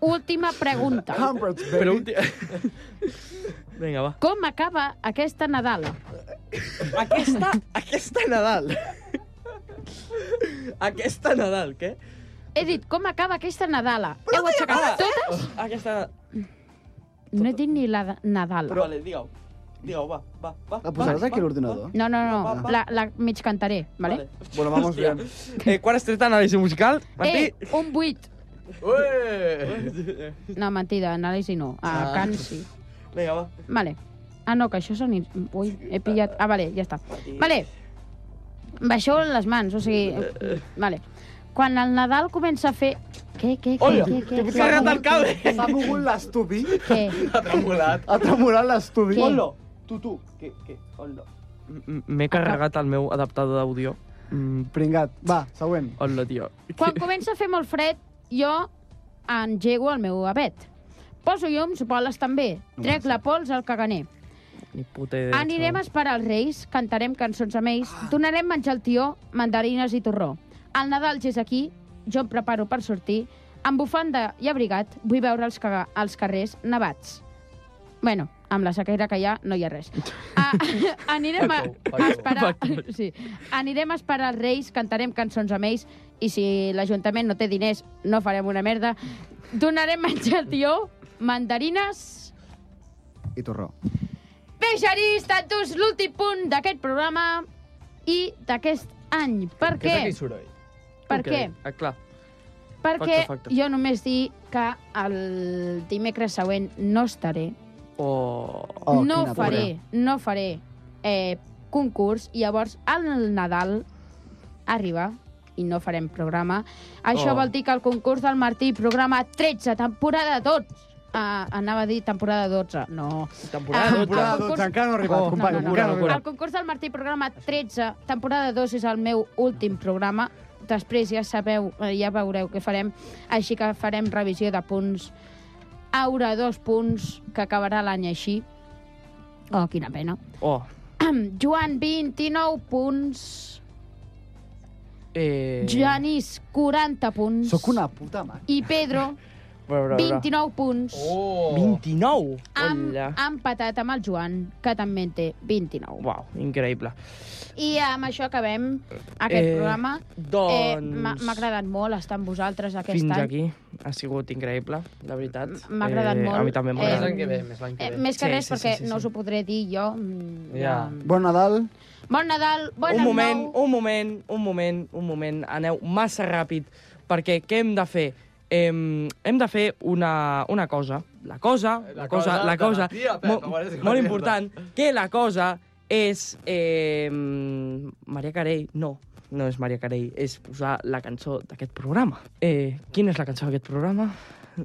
Speaker 5: última pregunta.
Speaker 6: Comforts, baby.
Speaker 7: Però un tia... Vinga, va.
Speaker 5: Com acaba aquesta Nadal?
Speaker 7: Aquesta, aquesta Nadal. Aquesta Nadal, què?
Speaker 5: He dit, com acaba aquesta Nadala? Heu aixecat totes?
Speaker 7: Ah, Aquesta Nadal.
Speaker 5: No he dit ni la de- Nadala.
Speaker 7: Vale, digue-ho. Digue-ho, va, va, va.
Speaker 6: La posaràs aquí a l'ordinador?
Speaker 5: No, no, no, la, la mig cantaré, vale?
Speaker 6: Bueno, vamos bien.
Speaker 7: Eh, quart estret anàlisi musical. Martí.
Speaker 5: Eh, un 8.
Speaker 8: Ué!
Speaker 5: No, mentida, anàlisi no. A
Speaker 8: Ah.
Speaker 5: cant sí.
Speaker 7: Vinga, va.
Speaker 5: Vale. Ah, no, que això són... in- Ui, he pillat... Ah, vale, ja està. Vale. Baixeu les mans, o sigui... Vale. Quan el Nadal comença a fer... Què, què, què,
Speaker 7: Hola,
Speaker 5: què, què,
Speaker 7: m'he
Speaker 5: què,
Speaker 7: carregat el cable.
Speaker 6: S'ha mogut l'estudi.
Speaker 5: què,
Speaker 8: Ha tremolat.
Speaker 6: Ha tremolat l'estudi.
Speaker 5: Què?
Speaker 6: Hola.
Speaker 7: Tu, tu, que, que, hola. M'he carregat el meu adaptador d'àudio. Mm,
Speaker 6: Pringat. Va, següent.
Speaker 7: hola, tio.
Speaker 5: Quan comença a fer molt fred, jo engego el meu abet. Poso llums, boles també. Trec la pols al caganer.
Speaker 7: Ni puta idea.
Speaker 5: Anirem a esperar els Reis, cantarem cançons amb ells, donarem menjar al tió, mandarines i torró. El Nadal ja és aquí, jo em preparo per sortir, amb bufanda i abrigat vull veure els, caga, els carrers nevats. Bueno, amb la sequera que hi ha, no hi ha res. A, anirem, a, a esperar, sí, anirem a esperar els Reis, cantarem cançons amb ells, i si l'Ajuntament no té diners, no farem una merda. Donarem menjar al tió, mandarines
Speaker 6: I torró.
Speaker 5: Bé, Gerís, tantos l'últim punt d'aquest programa i d'aquest any. Per
Speaker 8: Què
Speaker 5: què?
Speaker 8: és aquí soroll?
Speaker 5: Per
Speaker 7: Ok,
Speaker 5: què?
Speaker 7: Ah, clar.
Speaker 5: Perquè
Speaker 7: facte.
Speaker 5: jo només dic que el dimecres següent no estaré,
Speaker 7: Oh...
Speaker 6: Oh,
Speaker 5: no
Speaker 6: quina
Speaker 5: faré, no faré eh, concurs i llavors el Nadal arriba i no farem programa. Això
Speaker 7: Oh.
Speaker 5: vol dir que el concurs del Martí, programa 13, temporada 12, Ah, anava a dir temporada 12, no.
Speaker 7: Temporada
Speaker 5: Ah,
Speaker 7: 12.
Speaker 6: Temporada
Speaker 5: el
Speaker 6: 12, encara no ha arribat,
Speaker 7: Oh,
Speaker 6: company.
Speaker 5: no, no, no.
Speaker 6: encara no, ha
Speaker 7: Bueno.
Speaker 5: El concurs del Martí, programa 13, temporada 2, és el meu últim programa. Després ja sabeu, eh, ja veureu què farem. Així que farem revisió de punts. Aura, dos punts, que acabarà l'any així. Oh, quina pena.
Speaker 7: Oh.
Speaker 5: Joan, 29 punts.
Speaker 7: Eh...
Speaker 5: Janís, 40 punts.
Speaker 6: arribat. Sóc una puta mare.
Speaker 5: I Pedro,
Speaker 7: Però, però, però.
Speaker 5: 29 punts.
Speaker 8: Oh!
Speaker 7: 29?
Speaker 5: Am,
Speaker 7: Hola.
Speaker 5: empatat amb el Joan, que també en té 29.
Speaker 7: Uau, increïble.
Speaker 5: Eh, I amb això acabem aquest
Speaker 7: Eh,
Speaker 5: programa. Eh,
Speaker 7: Doncs...
Speaker 5: m'ha m'ha agradat molt estar amb vosaltres aquest
Speaker 7: Fins
Speaker 5: any.
Speaker 7: aquí. Ha sigut increïble, de veritat.
Speaker 5: M'ha agradat molt.
Speaker 7: A mi també m'ha
Speaker 5: Eh,
Speaker 8: Més
Speaker 7: agradat.
Speaker 8: l'any que ve, més l'any que
Speaker 5: Eh,
Speaker 8: ve.
Speaker 5: més que
Speaker 7: Sí,
Speaker 5: res,
Speaker 7: sí,
Speaker 5: perquè
Speaker 7: sí, sí,
Speaker 5: no
Speaker 7: sí.
Speaker 5: us ho podré dir jo. Mm,
Speaker 8: Ja.
Speaker 6: Bon Nadal.
Speaker 5: Bon Nadal, bon
Speaker 7: un
Speaker 5: any
Speaker 7: moment,
Speaker 5: nou.
Speaker 7: un moment, un moment, un moment. Aneu massa ràpid, perquè què hem de fer? Hem, hem de fer una, una cosa. La cosa, la,
Speaker 8: La
Speaker 7: cosa,
Speaker 8: cosa
Speaker 7: la
Speaker 8: de
Speaker 7: cosa,
Speaker 8: la tia Pepa,
Speaker 7: molt,
Speaker 8: m'agrada que
Speaker 7: molt
Speaker 8: la
Speaker 7: important, que la cosa és... Eh, Maria Carey, no, no és Maria Carey, és posar la cançó d'aquest programa. Eh, quina és la cançó d'aquest programa?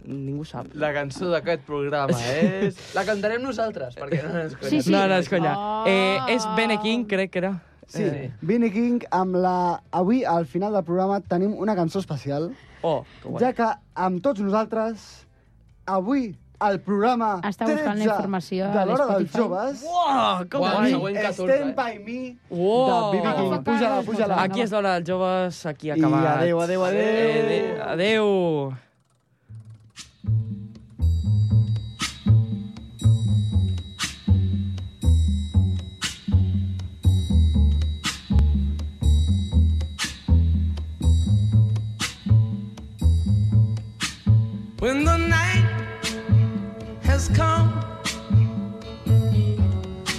Speaker 7: Ningú sap.
Speaker 8: La cançó d'aquest programa és... La cantarem nosaltres, perquè no ens
Speaker 5: Sí, sí.
Speaker 7: No, no, és conya.
Speaker 5: Oh.
Speaker 7: Eh, és Bene King, crec que era.
Speaker 6: Sí,
Speaker 7: Eh,
Speaker 6: Vinny King, amb la... avui, al final del programa, tenim una cançó especial,
Speaker 7: oh, que guai.
Speaker 6: ja que amb tots nosaltres, avui, el programa
Speaker 5: Està buscant la
Speaker 6: 13
Speaker 5: informació a
Speaker 6: de l'hora dels
Speaker 5: Spotify.
Speaker 6: joves,
Speaker 7: Uah, que
Speaker 8: Uau,
Speaker 7: guai.
Speaker 8: següent 14,
Speaker 6: Stand
Speaker 8: eh?
Speaker 6: by me,
Speaker 7: Uau.
Speaker 6: de Bibi King. Puja-la, puja-la.
Speaker 7: Aquí Eh, és l'hora dels joves, aquí ha
Speaker 6: I
Speaker 7: acabat.
Speaker 6: adeu, adeu, adeu.
Speaker 7: Eh, adeu.
Speaker 8: ground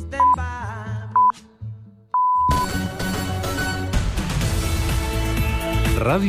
Speaker 8: Stand by me.
Speaker 1: Ràdio